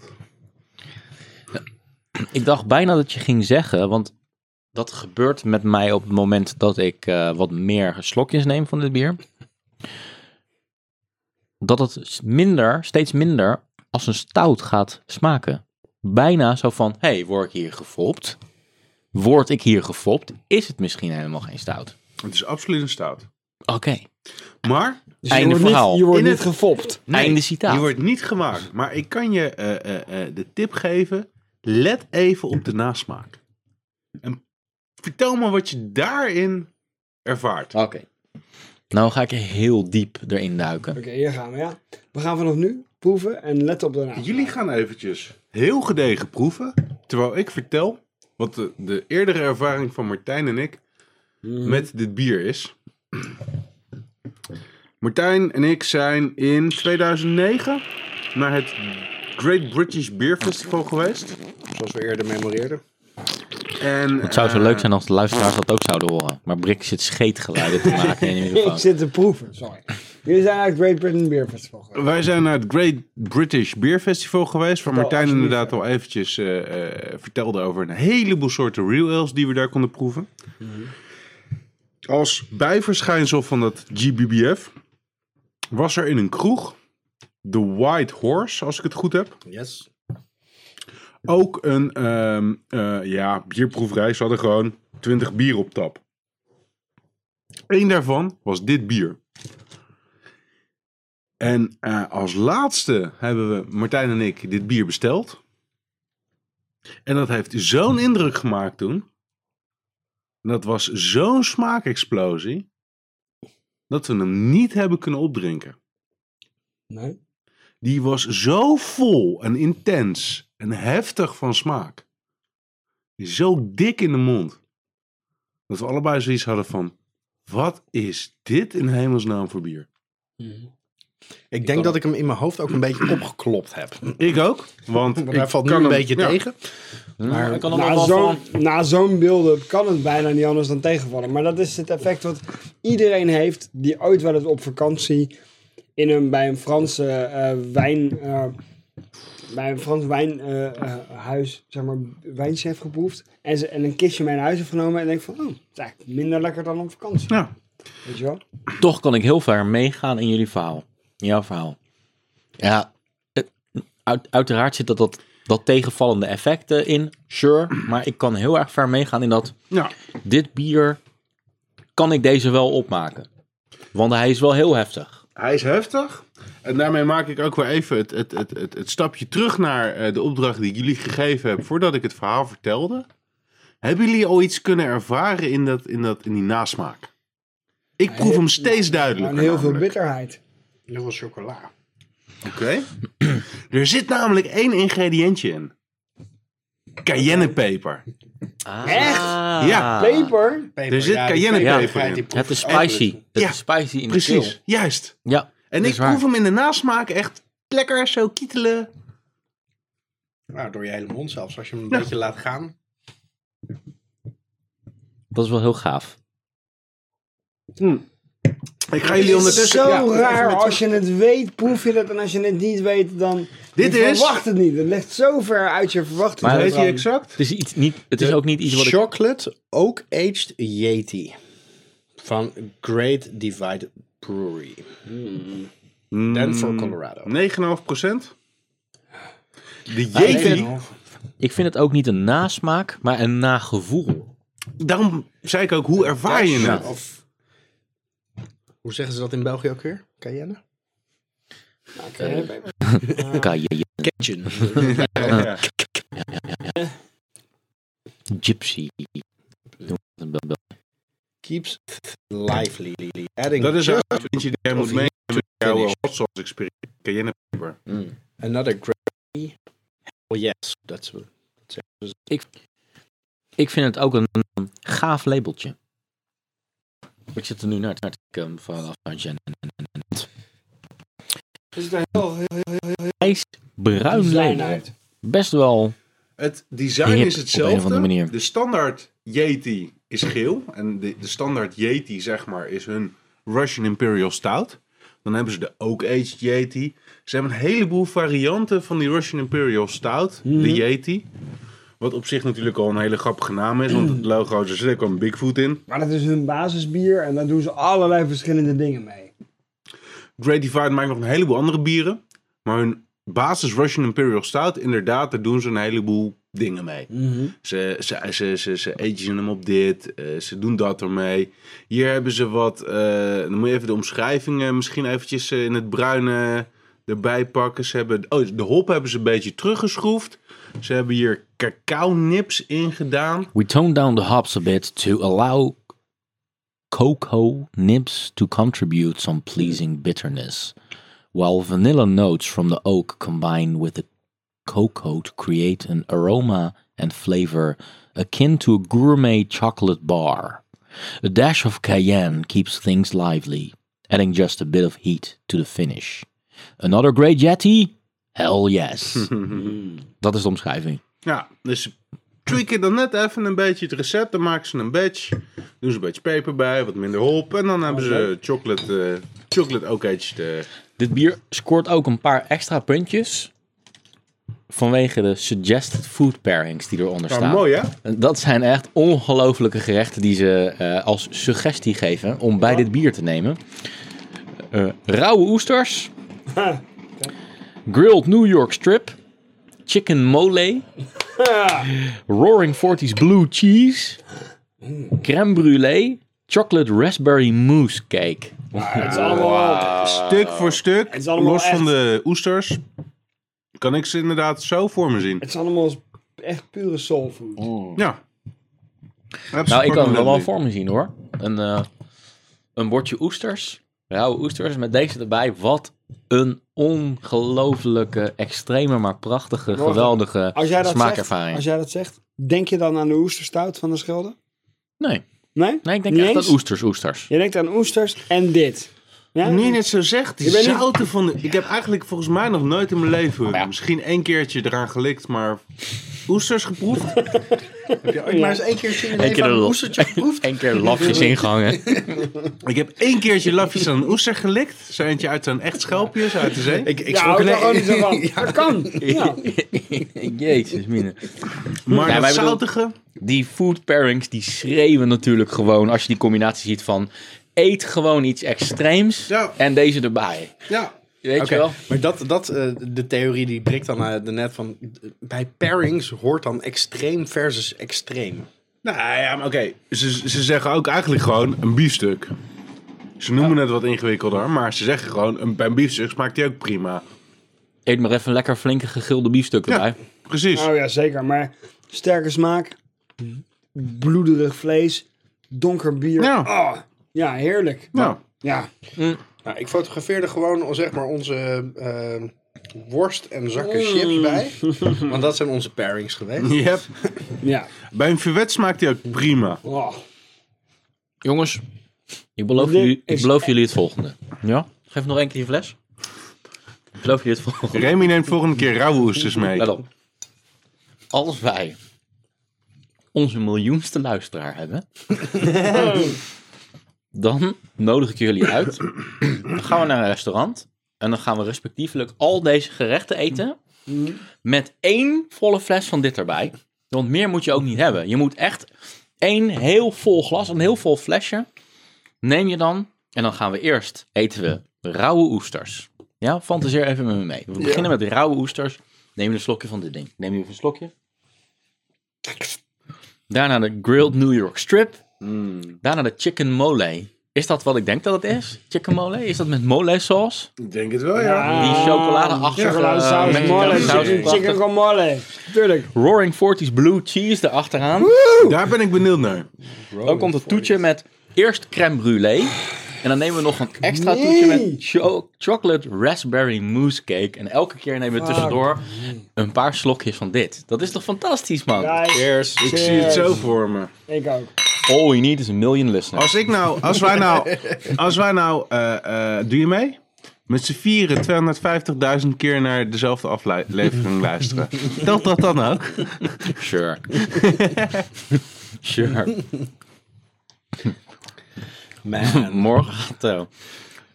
Ik dacht bijna dat je ging zeggen, want dat gebeurt met mij op het moment dat ik eh, wat meer slokjes neem van dit bier. Dat het s- minder, steeds minder, als een stout gaat smaken. Bijna zo van, hé, hey, word ik hier gefopt? Word ik hier gefopt? Is het misschien helemaal geen stout? Het is absoluut een stout. Oké, Maar Dus Einde je wordt verhaal. Niet, je wordt In niet het- gefopt. nee, einde citaat. die wordt niet gemaakt. Maar ik kan je eh, eh, eh, de tip geven. Let even op de nasmaak. En vertel me wat je daarin ervaart. Oké. Nou ga ik heel diep erin duiken. Oké, hier gaan we, ja. We gaan vanaf nu proeven en let op daarna. Jullie gaan eventjes heel gedegen proeven. Terwijl ik vertel wat de, de eerdere ervaring van Martijn en ik met dit bier is. Martijn en ik zijn in 2009 naar het Great British Beer Festival geweest. zoals we eerder memoreerden. En, Het zou zo leuk zijn als de luisteraars dat ook zouden horen. Maar Brik zit scheetgeluiden te maken in de Ik microfoon. zit te proeven, sorry. Jullie zijn naar het Great Britain Beer Festival geweest. Wij zijn naar het Great British Beer Festival geweest. Waar Martijn alsjeblieft. inderdaad al eventjes eh, eh, vertelde over een heleboel soorten real ales die we daar konden proeven. Mhm. Als bijverschijnsel van dat GBBF was er in een kroeg, de White Horse, als ik het goed heb, Yes. ook een ehm, eh, ja, bierproeverij. Ze hadden gewoon 20 bier op tap. Eén daarvan was dit bier. En eh, als laatste hebben we, Martijn en ik, dit bier besteld. En dat heeft zo'n indruk gemaakt toen. En dat was zo'n smaakexplosie. Dat we hem niet hebben kunnen opdrinken. Nee? Die was zo vol en intens en heftig van smaak. Zo dik in de mond. Dat we allebei zoiets hadden van... Wat is dit in hemelsnaam voor bier? Ik denk dat ik hem in mijn hoofd ook een beetje opgeklopt heb. Ik ook. Want Maar ik hij valt nu kan een hem- beetje ja. tegen. Maar Ik kan er nog Na wel zo'n, van- na zo'n build-up kan het bijna niet anders dan tegenvallen. Maar dat is het effect wat iedereen heeft die ooit wel eens op vakantie in een, bij een Franse eh, wijn... eh, bij een Frans wijnhuis, zeg maar, wijntje heeft geproefd. En, ze, en een kistje mee naar huis heeft genomen. En denkt van, oh, het is eigenlijk minder lekker dan op vakantie. Ja. Weet je wel? Toch kan ik heel ver meegaan in jullie verhaal. In jouw verhaal. Ja, het- uit- uiteraard zit dat, dat, dat tegenvallende effect eh, in. Sure. Maar ik kan heel erg ver meegaan in dat Ja. dit bier, kan ik deze wel opmaken. Want hij is wel heel heftig. Hij is heftig. En daarmee maak ik ook weer even het, het, het, het, het stapje terug naar eh, de opdracht die ik jullie gegeven heb voordat ik het verhaal vertelde. Hebben jullie al iets kunnen ervaren in, dat, in, dat, in die nasmaak? Ik proef hem steeds En duidelijker. heel veel namelijk. bitterheid. heel veel chocola. Oké. er zit namelijk één ingrediëntje in. Cayennepeper. Echt? Ja. Peper? Er zit cayennepeper in. Het is spicy. Het Ja, is spicy in de Precies, keel. juist. Ja. En Dat ik is waar. proef hem in de nasmaak echt lekker zo kietelen. Nou, door je hele mond zelfs. Als je hem een beetje laat gaan. Dat is wel heel gaaf. Ik ga Het jullie is ondertussen... zo ja, raar. Als je het weet, proef je dat. En als je het niet weet, dan... Dit je is- verwacht het niet. Het ligt zo ver uit je verwachting. Maar Weet je vandaan. exact? Het is, iets, niet, het is ook niet iets wat ik... Chocolate Oak Aged Yeti. Van Great Divide Brewery. Denver, Colorado. 9,5 procent. De Ah, ik Yeti, vind- Ik vind het ook niet een nasmaak, maar een nagevoel. daarom zei ik ook, hoe ervaar je het? Of, hoe zeggen ze dat in België ook weer? Cayenne? Nou, Cayenne. Kitchen. Ja. Gypsy. Noem het een bel- bel- Keeps lively. Adding Dat is just ook eentje die jij moet meenemen met jouw eh, hot sauce experience. Cayenne pepper. another gravy. Hell yes. Dat is Ik vind het ook een gaaf labeltje. Ik zit er nu naar te kijken van afstandje. en- en- en- en- en- Is het er heel, heel, heel, heel, heel Hij is bruin klein label. uit. Best wel. Het design Hip, is op een hetzelfde. of andere manier. De standaard Yeti is geel. En de, de standaard Yeti, zeg maar, is hun Russian Imperial Stout. Dan hebben ze de Oak Aged Yeti. Ze hebben een heleboel varianten van die Russian Imperial Stout. Mhm. De Yeti. Wat op zich natuurlijk al een hele grappige naam is. Want het logo, er zit ook een Bigfoot in. Maar dat is hun basisbier en daar doen ze allerlei verschillende dingen mee. Great Divide maakt nog een heleboel andere bieren. Maar hun basis Russian Imperial Stout, inderdaad, daar doen ze een heleboel dingen mee. Ze, ze, ze, ze, ze agen hem op dit, eh, ze doen dat ermee. Hier hebben ze wat, eh, dan moet je even de omschrijvingen misschien eventjes eh, in het bruine erbij pakken. Ze hebben, oh, de hop hebben ze een beetje teruggeschroefd. Ze hebben hier cacao nips in gedaan. We tone down the hops a bit to allow cocoa nibs to contribute some pleasing bitterness, while vanilla notes from the oak combine with the cocoa to create an aroma and flavor akin to a gourmet chocolate bar. A dash of cayenne keeps things lively, adding just a bit of heat to the finish. Another great jetty? Hell yes. Dat is de omschrijving. Ja, dus ze tweaken dan net even een beetje het recept. Dan maken ze een batch. Doen ze een beetje peper bij, wat minder hop. En dan hebben ze chocolate, eh chocolate oak aged. eh. Dit bier scoort ook een paar extra puntjes. Vanwege de suggested food pairings die eronder Maar staan. Nou, mooi hè? En Dat zijn echt ongelofelijke gerechten die ze eh, als suggestie geven om bij dit bier te nemen. Eh, rauwe oesters. Grilled New York strip. Chicken mole. Roaring 40s blue cheese. Crème brûlée. Chocolate raspberry mousse cake. Het Ah. is allemaal... Stuk voor stuk, Ah. is allemaal los van echt. de oesters, kan ik ze inderdaad zo voor me zien. Het is allemaal echt pure soulfood. Ja. Nou, ik kan het wel Absoluut. voor me zien hoor. Een, eh, een bordje oesters. Rauwe oesters met deze erbij. Wat een ongelooflijke, extreme, maar prachtige, Morgen. geweldige Als jij, dat zegt, smaakervaring. als jij dat zegt, denk je dan aan de oesterstout van de Schelde? Nee, Nee? nee, ik denk Niet echt eens? aan oesters, oesters. Je denkt aan oesters en dit. Ja? Nu je net zo zegt, die Ik ben niet- zouten van... de- Ik heb eigenlijk volgens mij nog nooit in mijn leven... ja. Misschien één keertje eraan gelikt, maar... Oesters geproefd? heb jij ooit Maar maar eens eens- één keer in Eén keer, een een oestertje geproefd. Eén keer lafjes ingehangen. Ik heb één keertje lafjes aan een oester gelikt. Zo eentje uit zo'n echt schelpje, zo uit de zee. Ik, ik ja, schrok hou in- daar gewoon niet zo van. Dat kan. Ja. Jezus, mine. Maar Ja, wij dat bedoel- zoutige... die food pairings die schreeuwen natuurlijk gewoon als je die combinatie ziet van eet gewoon iets extreems Ja. en deze erbij. Ja. Weet Oké, je wel? maar dat, dat eh, de theorie die breekt dan eh, daarnet van... eh, Bij pairings hoort dan extreem versus extreem. Nou ja, maar oké. Ze, ze zeggen ook eigenlijk gewoon een biefstuk. Ze noemen het wat ingewikkelder, maar ze zeggen gewoon... Een, bij een biefstuk smaakt die ook prima. Eet maar even een lekker flinke gegilde biefstuk erbij. Precies. Oh ja, zeker. Maar sterke smaak, bloederig vlees, donker bier. Ja. Oh, ja, heerlijk. Nou, Ja. Nou, ik fotografeerde gewoon zeg maar onze eh, worst en Mm. zakken chips bij. Want dat zijn onze pairings geweest. yep. Ja. Bij een verwet smaakt die ook prima. Oh. Jongens, ik beloof, Dit jullie, ik is beloof jullie het volgende. Ja? Geef nog één keer je fles. Ik beloof jullie het volgende. Remy neemt volgende keer rauwe oesters mee. Let op. Als wij onze miljoenste luisteraar hebben, dan nodig ik jullie uit. Dan gaan we naar een restaurant en dan gaan we respectievelijk al deze gerechten eten met één volle fles van dit erbij. Want meer moet je ook niet hebben. Je moet echt één heel vol glas, een heel vol flesje neem je dan en dan gaan we eerst eten we rauwe oesters. Ja, fantaseer even met me mee. We beginnen met rauwe oesters. Neem een slokje van dit ding. Neem je even een slokje. Daarna de grilled New York strip. Daarna de chicken mole. Is dat wat ik denk dat het is? Chicken mole? Is dat met mole saus? Ik denk het wel, ja. Ah, Die chocoladeachtige, eh, Chocoladesaus, Mexicaan mole, saus. chicken- chicken con mole. Tuurlijk. Roaring 40s blue cheese erachteraan. Daar ben ik benieuwd naar. Ook komt een toetje met eerst crème brûlée. En dan nemen we nog een extra toetje Nee. met cho- chocolate raspberry mousse cake. En elke keer nemen we Fuck. tussendoor een paar slokjes van dit. Dat is toch fantastisch, man? Guys, Ik zie het zo voor me. ik ook. All you need is a million listeners. Als ik nou, als wij nou, als wij nou, eh, eh, doe je mee? Met z'n vieren 250.000 keer naar dezelfde aflevering luisteren. Telt dat dan ook? Oh, Sure. sure. Morgen gaat eh,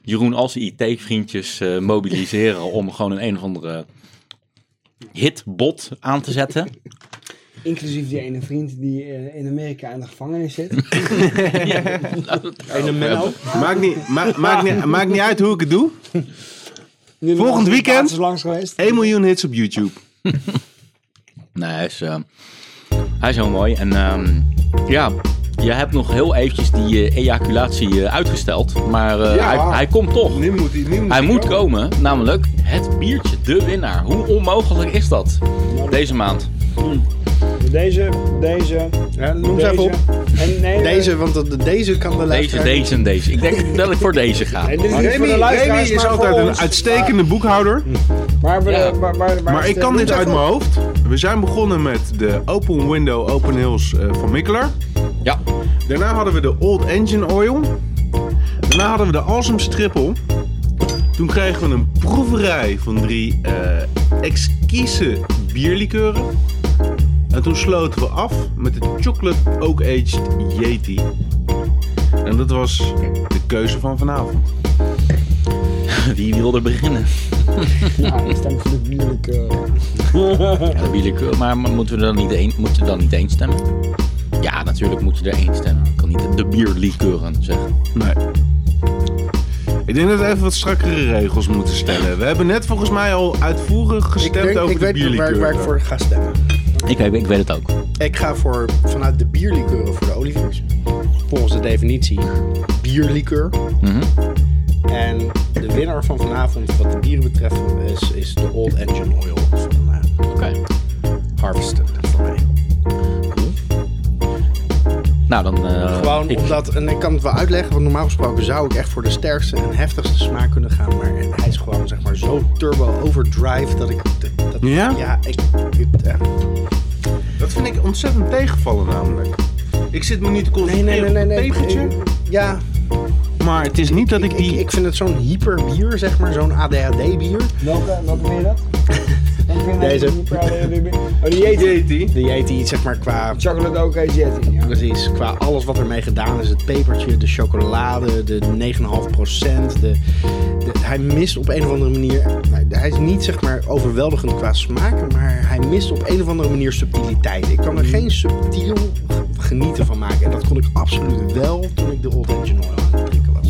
Jeroen al zijn IT-vriendjes eh, mobiliseren om gewoon een een of andere hitbot aan te zetten. Inclusief die ene vriend die eh, in Amerika in de gevangenis zit. Een Menno? Maakt niet, ma- maakt niet, maakt niet uit hoe ik het doe. Nu nog Volgend een weekend? plaats is langs geweest. 1 miljoen hits op YouTube. Nee, hij is, eh, hij is heel mooi. En ehm, ja, je hebt nog heel eventjes die eh, ejaculatie eh, uitgesteld. Maar eh, Ja. hij, hij komt toch. Nu moet hij, nu moet Hij moet komen, namelijk het biertje, de winnaar. Hoe onmogelijk is dat deze maand? Deze, deze, Ja, noem ze deze. even op. En nee, Deze, want dat- deze kan de Deze, luisteraar... deze en deze. Ik denk dat ik voor deze ga. En dit is Maar niet voor Remy, de luisteraars, Remy is maar altijd voor een ons. uitstekende boekhouder. Maar, maar, Ja. maar, maar, Maar ik kan dit uit mijn mogen. hoofd. We zijn begonnen met de Open Window Open Hills eh, van Mikkeler. Ja, Daarna hadden we de Old Engine Oil. Daarna hadden we de Awesome Strippel. Toen kregen we een proeverij van drie eh exquise bierlikeuren. En toen sloten we af met de Chocolate Oak Aged Yeti. En dat was de keuze van vanavond. wie wil er beginnen? Ja, Nou, ik stem voor de bierlijke. Ja, de willekeur, eh, maar maar moeten we dan niet één, moeten we dan niet één stemmen? Ja, natuurlijk moet je er één stemmen. Ik kan niet de bierlikeuren zeggen. Nee. Ik denk dat we even wat strakkere regels moeten stellen. We hebben net volgens mij al uitvoerig Ik, gestemd denk, over ik de weet waar, bierlikeuren. waar ik voor ga stemmen. Ik, ik, ik weet het ook. Ik ga voor, vanuit de bierlikeuren voor de oliviers. Volgens de definitie bierlikeur. Mhm. En de winnaar van vanavond, wat de bieren betreft, is, is de Old Engine Oil van eh, Oké. Eh, Harvested voor mij. Nou, ja, dan... eh, Gewoon ik- omdat, en ik kan het wel uitleggen, want normaal gesproken zou ik echt voor de sterkste en heftigste smaak kunnen gaan. Maar hij is gewoon zeg maar zo turbo overdrive dat ik. Dat, Ja? Ja, ik. ik- eh, Dat vind ik ontzettend tegenvallen namelijk. Ik zit me niet te nee, concentreren nee, nee, nee. nee. op het pepertje. Ik- ja, Maar het is niet dat ik, ik die... ik, ik vind het zo'n hyperbier, zeg maar, zo'n ADHD-bier. Welke, welke ben je dat? Welke ben je Deze. dat? Oh, die Yeti. Yeti. Die heet iets, zeg maar, qua. Chocolate OK Yeti. Ja. Precies, qua alles wat ermee gedaan is. Het pepertje, de chocolade, de 9,5 procent. De, de- hij mist op een of andere manier... Hij is niet zeg maar overweldigend qua smaak, maar hij mist op een of andere manier subtiliteit. Ik kan er geen subtiel g- genieten van maken. En dat kon ik absoluut wel toen ik de Old Engine Oil aan het drinken was.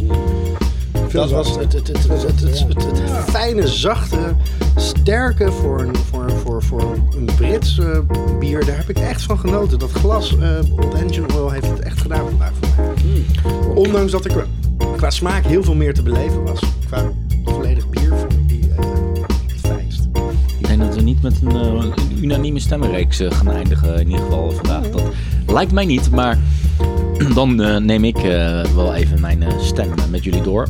Dat was het, het, het, het, het, het, het- het- het fijne, zachte, sterke voor een, voor, voor, voor een Brits eh, bier. Daar heb ik echt van genoten. Dat glas eh, Old Engine Oil heeft het echt gedaan vandaag voor mij. Ondanks dat ik er qua smaak heel veel meer te beleven was. Qua volledig bier vond ik die eh, het fijnst. Ik denk dat we niet met een, eh, een unanieme stemmenreeks eh, gaan eindigen, in ieder geval vandaag. Dat lijkt mij niet, maar dan eh, neem ik eh, wel even mijn eh, stem eh, met jullie door.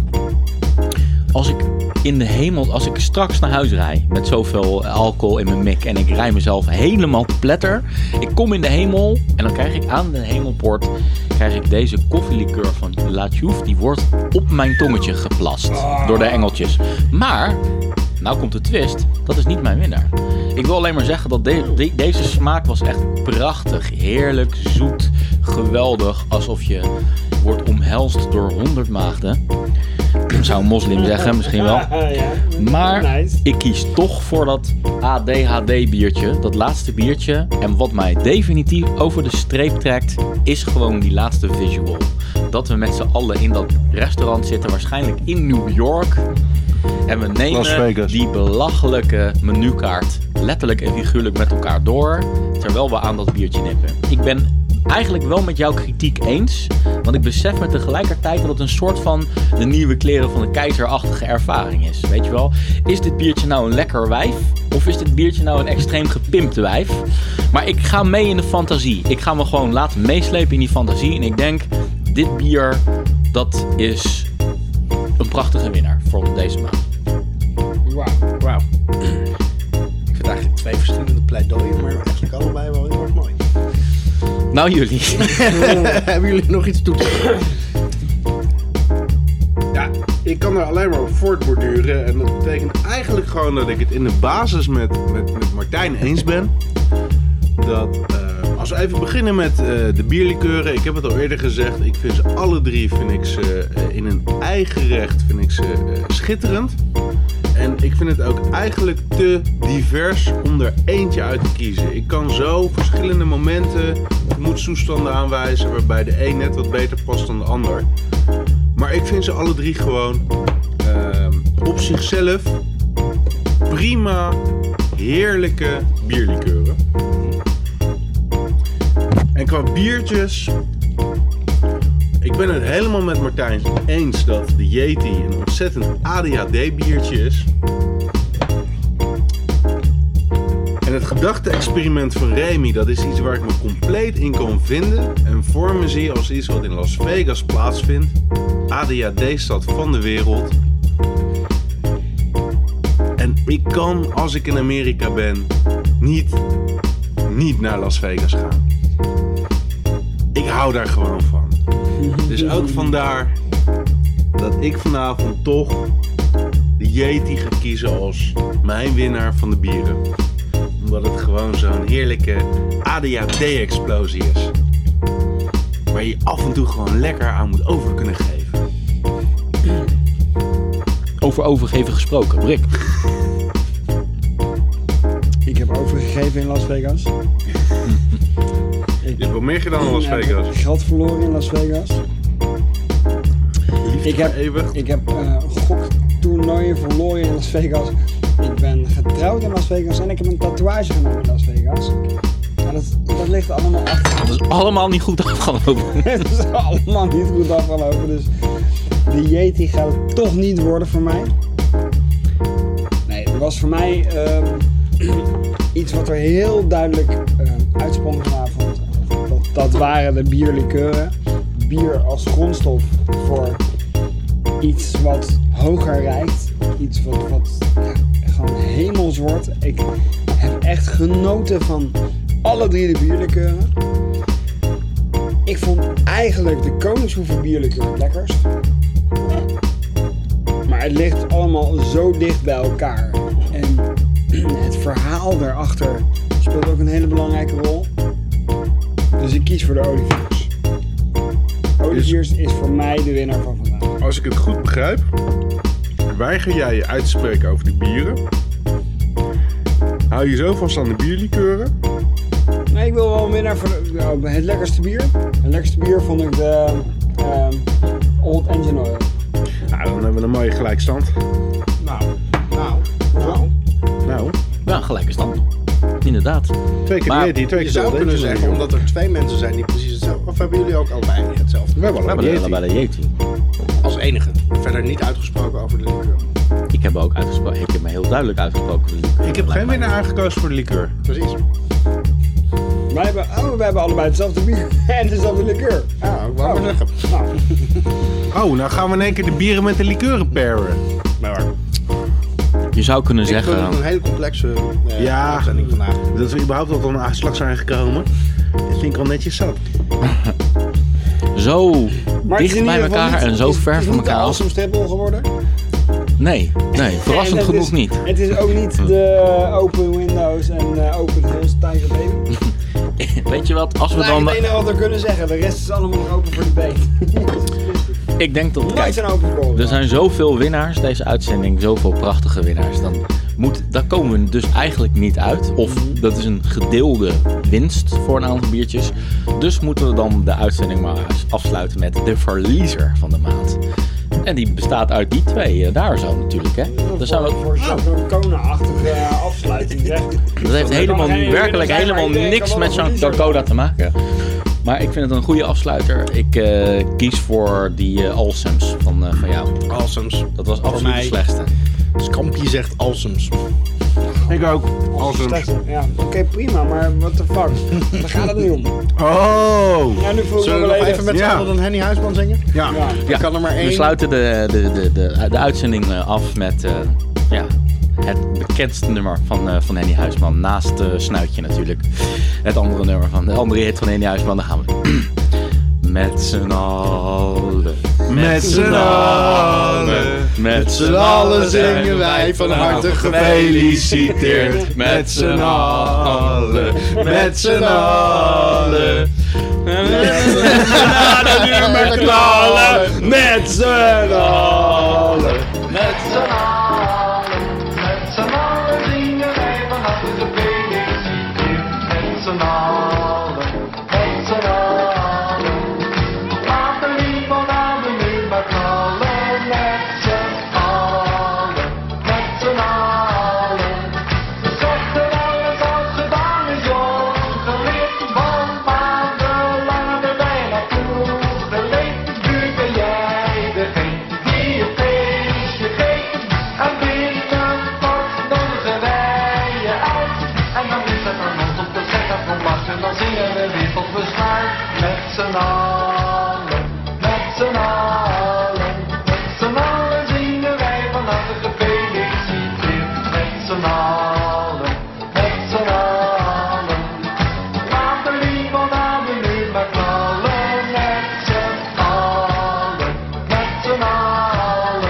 Als ik in de hemel, als ik straks naar huis rij met zoveel alcohol in mijn mik en ik rij mezelf helemaal te pletter. Ik kom in de hemel en dan krijg ik aan de hemelpoort krijg ik deze koffielikeur van La Chouffe. Die wordt op mijn tongetje geplast door de engeltjes. Maar, nou komt de twist, dat is niet mijn winnaar. Ik wil alleen maar zeggen dat de- de- deze smaak was echt prachtig, heerlijk, zoet, geweldig. Alsof je wordt omhelst door honderd maagden. Zou een moslim zeggen, misschien wel. Ah, ja. Maar Nice. ik kies toch voor dat ADHD-biertje, dat laatste biertje. En wat mij definitief over de streep trekt, is gewoon die laatste visual. Dat we met z'n allen in dat restaurant zitten, waarschijnlijk in New York. En we Las nemen Vegas. die belachelijke menukaart letterlijk en figuurlijk met elkaar door, terwijl we aan dat biertje nippen. Ik ben eigenlijk wel met jouw kritiek eens, want ik besef me tegelijkertijd dat het een soort van de nieuwe kleren van de keizerachtige ervaring is. Weet je wel, is dit biertje nou een lekker wijf of is dit biertje nou een extreem gepimpte wijf? Maar ik ga mee in de fantasie. Ik ga me gewoon laten meeslepen in die fantasie en ik denk, dit bier, dat is een prachtige winnaar voor deze maand. Wauw. Wauw. Ik vind eigenlijk twee verschillende pleidooien, maar eigenlijk allebei wel heel erg mooi. Nou jullie. Hebben jullie nog iets toe te voegen? Ja, ik kan er alleen maar op voortborduren. En dat betekent eigenlijk gewoon dat ik het in de basis met, met, met Martijn eens ben. Dat, eh, als we even beginnen met eh, de bierlikeuren. Ik heb het al eerder gezegd. Ik vind ze alle drie vind ik ze, eh, in hun eigen recht vind ik ze, eh, schitterend. En ik vind het ook eigenlijk te divers om er eentje uit te kiezen. Ik kan zo verschillende momenten, gemoedstoestanden aanwijzen waarbij de een net wat beter past dan de ander. Maar ik vind ze alle drie gewoon ehm, op zichzelf prima, heerlijke bierlikeuren. En qua biertjes. Ik ben het helemaal met Martijn eens dat de Yeti een ontzettend ADHD-biertje is. En het gedachte-experiment van Remy, dat is iets waar ik me compleet in kan vinden en voor me zie als iets wat in Las Vegas plaatsvindt. ADHD-stad van de wereld. En ik kan, als ik in Amerika ben, niet, niet naar Las Vegas gaan. Ik hou daar gewoon van. Dus ook vandaar dat ik vanavond toch de Yeti ga kiezen als mijn winnaar van de bieren. Omdat het gewoon zo'n heerlijke ADHD-explosie is. Waar je af en toe gewoon lekker aan moet over kunnen geven. Over overgeven gesproken, Brik. Ik heb overgegeven in Las Vegas. Je hebt wel meer gedaan dan Las Ik heb Vegas. Geld verloren in Las Vegas. Ik heb, Eeuwig. ik heb eh goktoernooien verloren in Las Vegas. Ik ben getrouwd in Las Vegas en ik heb een tatoeage genomen in Las Vegas. En dat, dat ligt allemaal achter. Dat is allemaal niet goed afgelopen. Het is allemaal niet goed afgelopen. Dus de Yeti gaat het toch niet worden voor mij. Nee, het was voor mij ehm, iets wat er heel duidelijk eh, uitsprong ehm, vanavond. Dat Dat waren de bierlikeuren. Bier als grondstof voor iets wat hoger reikt. Iets wat, wat ja, gewoon hemels wordt. Ik heb echt genoten van alle drie de bierlikeuren. Ik vond eigenlijk de Koningshoeven bierlikeur het lekkerst. Maar het ligt allemaal zo dicht bij elkaar. En het verhaal daarachter speelt ook een hele belangrijke rol. Dus ik kies voor de Oliviers. Oliviers is voor mij de winnaar van vandaag. Als ik het goed begrijp, weiger jij je uit te spreken over de bieren. Hou je zo vast aan de bierlikeuren. Nee, ik wil wel een winnaar voor de- nou, het lekkerste bier. Het lekkerste bier vond ik de ehm, Old Engine Oil. Nou, dan hebben we een mooie gelijkstand. Nou, nou. Nou, Nou, Ja, gelijk is dan. Inderdaad. twee keer Maar maar, die, twee Je keer zou de kunnen Angel zeggen, Angel. omdat er twee mensen zijn die precies hetzelfde... Of hebben jullie ook allebei hetzelfde? We hebben We allebei hebben een allebei de Yeti. Als enige. Verder niet uitgesproken over de liqueur. Ik heb, ook uitgesproken, ik heb me heel duidelijk uitgesproken. voor de liqueur. Ik heb geen winnaar aangekozen voor de likeur. Precies. wij hebben, oh, wij hebben allebei hetzelfde bier en dezelfde likeur. Ja, ik wou Oh. maar zeggen. Nou, Oh, nou gaan we in één keer de bieren met de likeuren paren. Maar Je zou kunnen ik vond het zeggen... een hele complexe eh Ja. uitzending vandaag. Dat we überhaupt tot een aanslag zijn gekomen. Dat vind ik al netjes zat. Zo maar het is dicht in bij ieder geval elkaar niet- en zo het is- ver het is van niet de elkaar. Awesome Stempel geworden. Nee, nee, verrassend En het genoeg is- niet. Hm. Het is ook niet de eh, Open Windows en eh, Open Hills Tiger Baby. Weet je wat, als we Dat is het dan... enige wat we kunnen zeggen. De rest is allemaal nog open voor de beet. Ik denk dat... Nooit Kijk, zijn nou open score. Er zijn zoveel winnaars deze uitzending, zoveel prachtige winnaars. Dan moet, daar komen we dus eigenlijk niet uit. Of dat is een gedeelde winst voor een aantal biertjes. Dus moeten we dan de uitzending maar eens afsluiten met de verliezer van de maand. En die bestaat uit die twee, eh, daar zo natuurlijk. Hè? Daar zijn Oh. we, voor zo'n zo'n Kona-achtige eh, afsluiting. zeg. dat heeft helemaal, werkelijk helemaal niks met zo'n Dakota te maken. Maar ik vind het een goede afsluiter. Ik eh, kies voor die eh, Alsems van, eh, van jou. Alsums. Dat was absoluut de mij- slechtste. Scampy zegt Alsums. Ik ook. Awesome. Ja, oké, prima, maar what the fuck. Daar gaat het niet om. Oh! Ja, nu voel ik me Zullen we nog beledigd. even met z'n Ja. allen dan Henny Huisman zingen? Ja. Ja. Er kan er maar één. We sluiten de, de, de, de, de uitzending eh, af met eh, ja, het bekendste nummer van, eh, van Henny Huisman. Naast eh, Snuitje natuurlijk. Het andere nummer van de andere hit van Henny Huisman. Daar gaan we. Met z'n allen. Met z'n allen. Met z'n allen zingen wij van harte gefeliciteerd. Met z'n allen. Met z'n allen. Naar de nummer knallen. Met z'n allen. Met z'n allen, met z'n allen zingen wij vanaf de feliciteer. Met z'n allen, met z'n allen. Laat de limonade nu maar knallen. Met z'n allen, met z'n allen. Zeg er alles als gedaan is, joh. Gelicht van vader, laat er bij naartoe. De leeftijdsbuurt ben jij degene die je feestje geeft. En binnenkort nodigen wij je uit. En dan is het aan ons om te zeggen van lach. En dan zingen we weer tot we zwaar. Met z'n allen, met z'n allen. Met z'n allen zingen wij vanaf de gefeliciteerd. Met z'n allen, met z'n allen. Laat de limonade nu maar knallen met z'n allen, met z'n allen.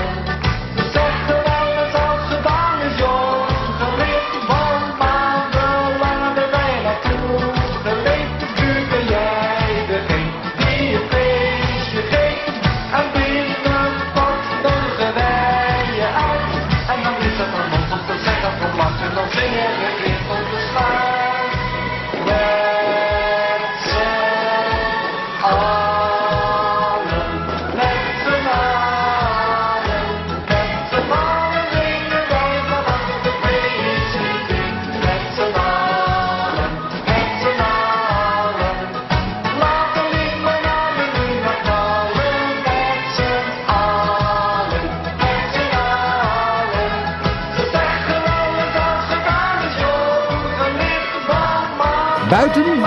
Zeg dat alles al gedaan is, joh. Gelicht van maanden laden wij naartoe. De leeftijd ben jij degene die Buiten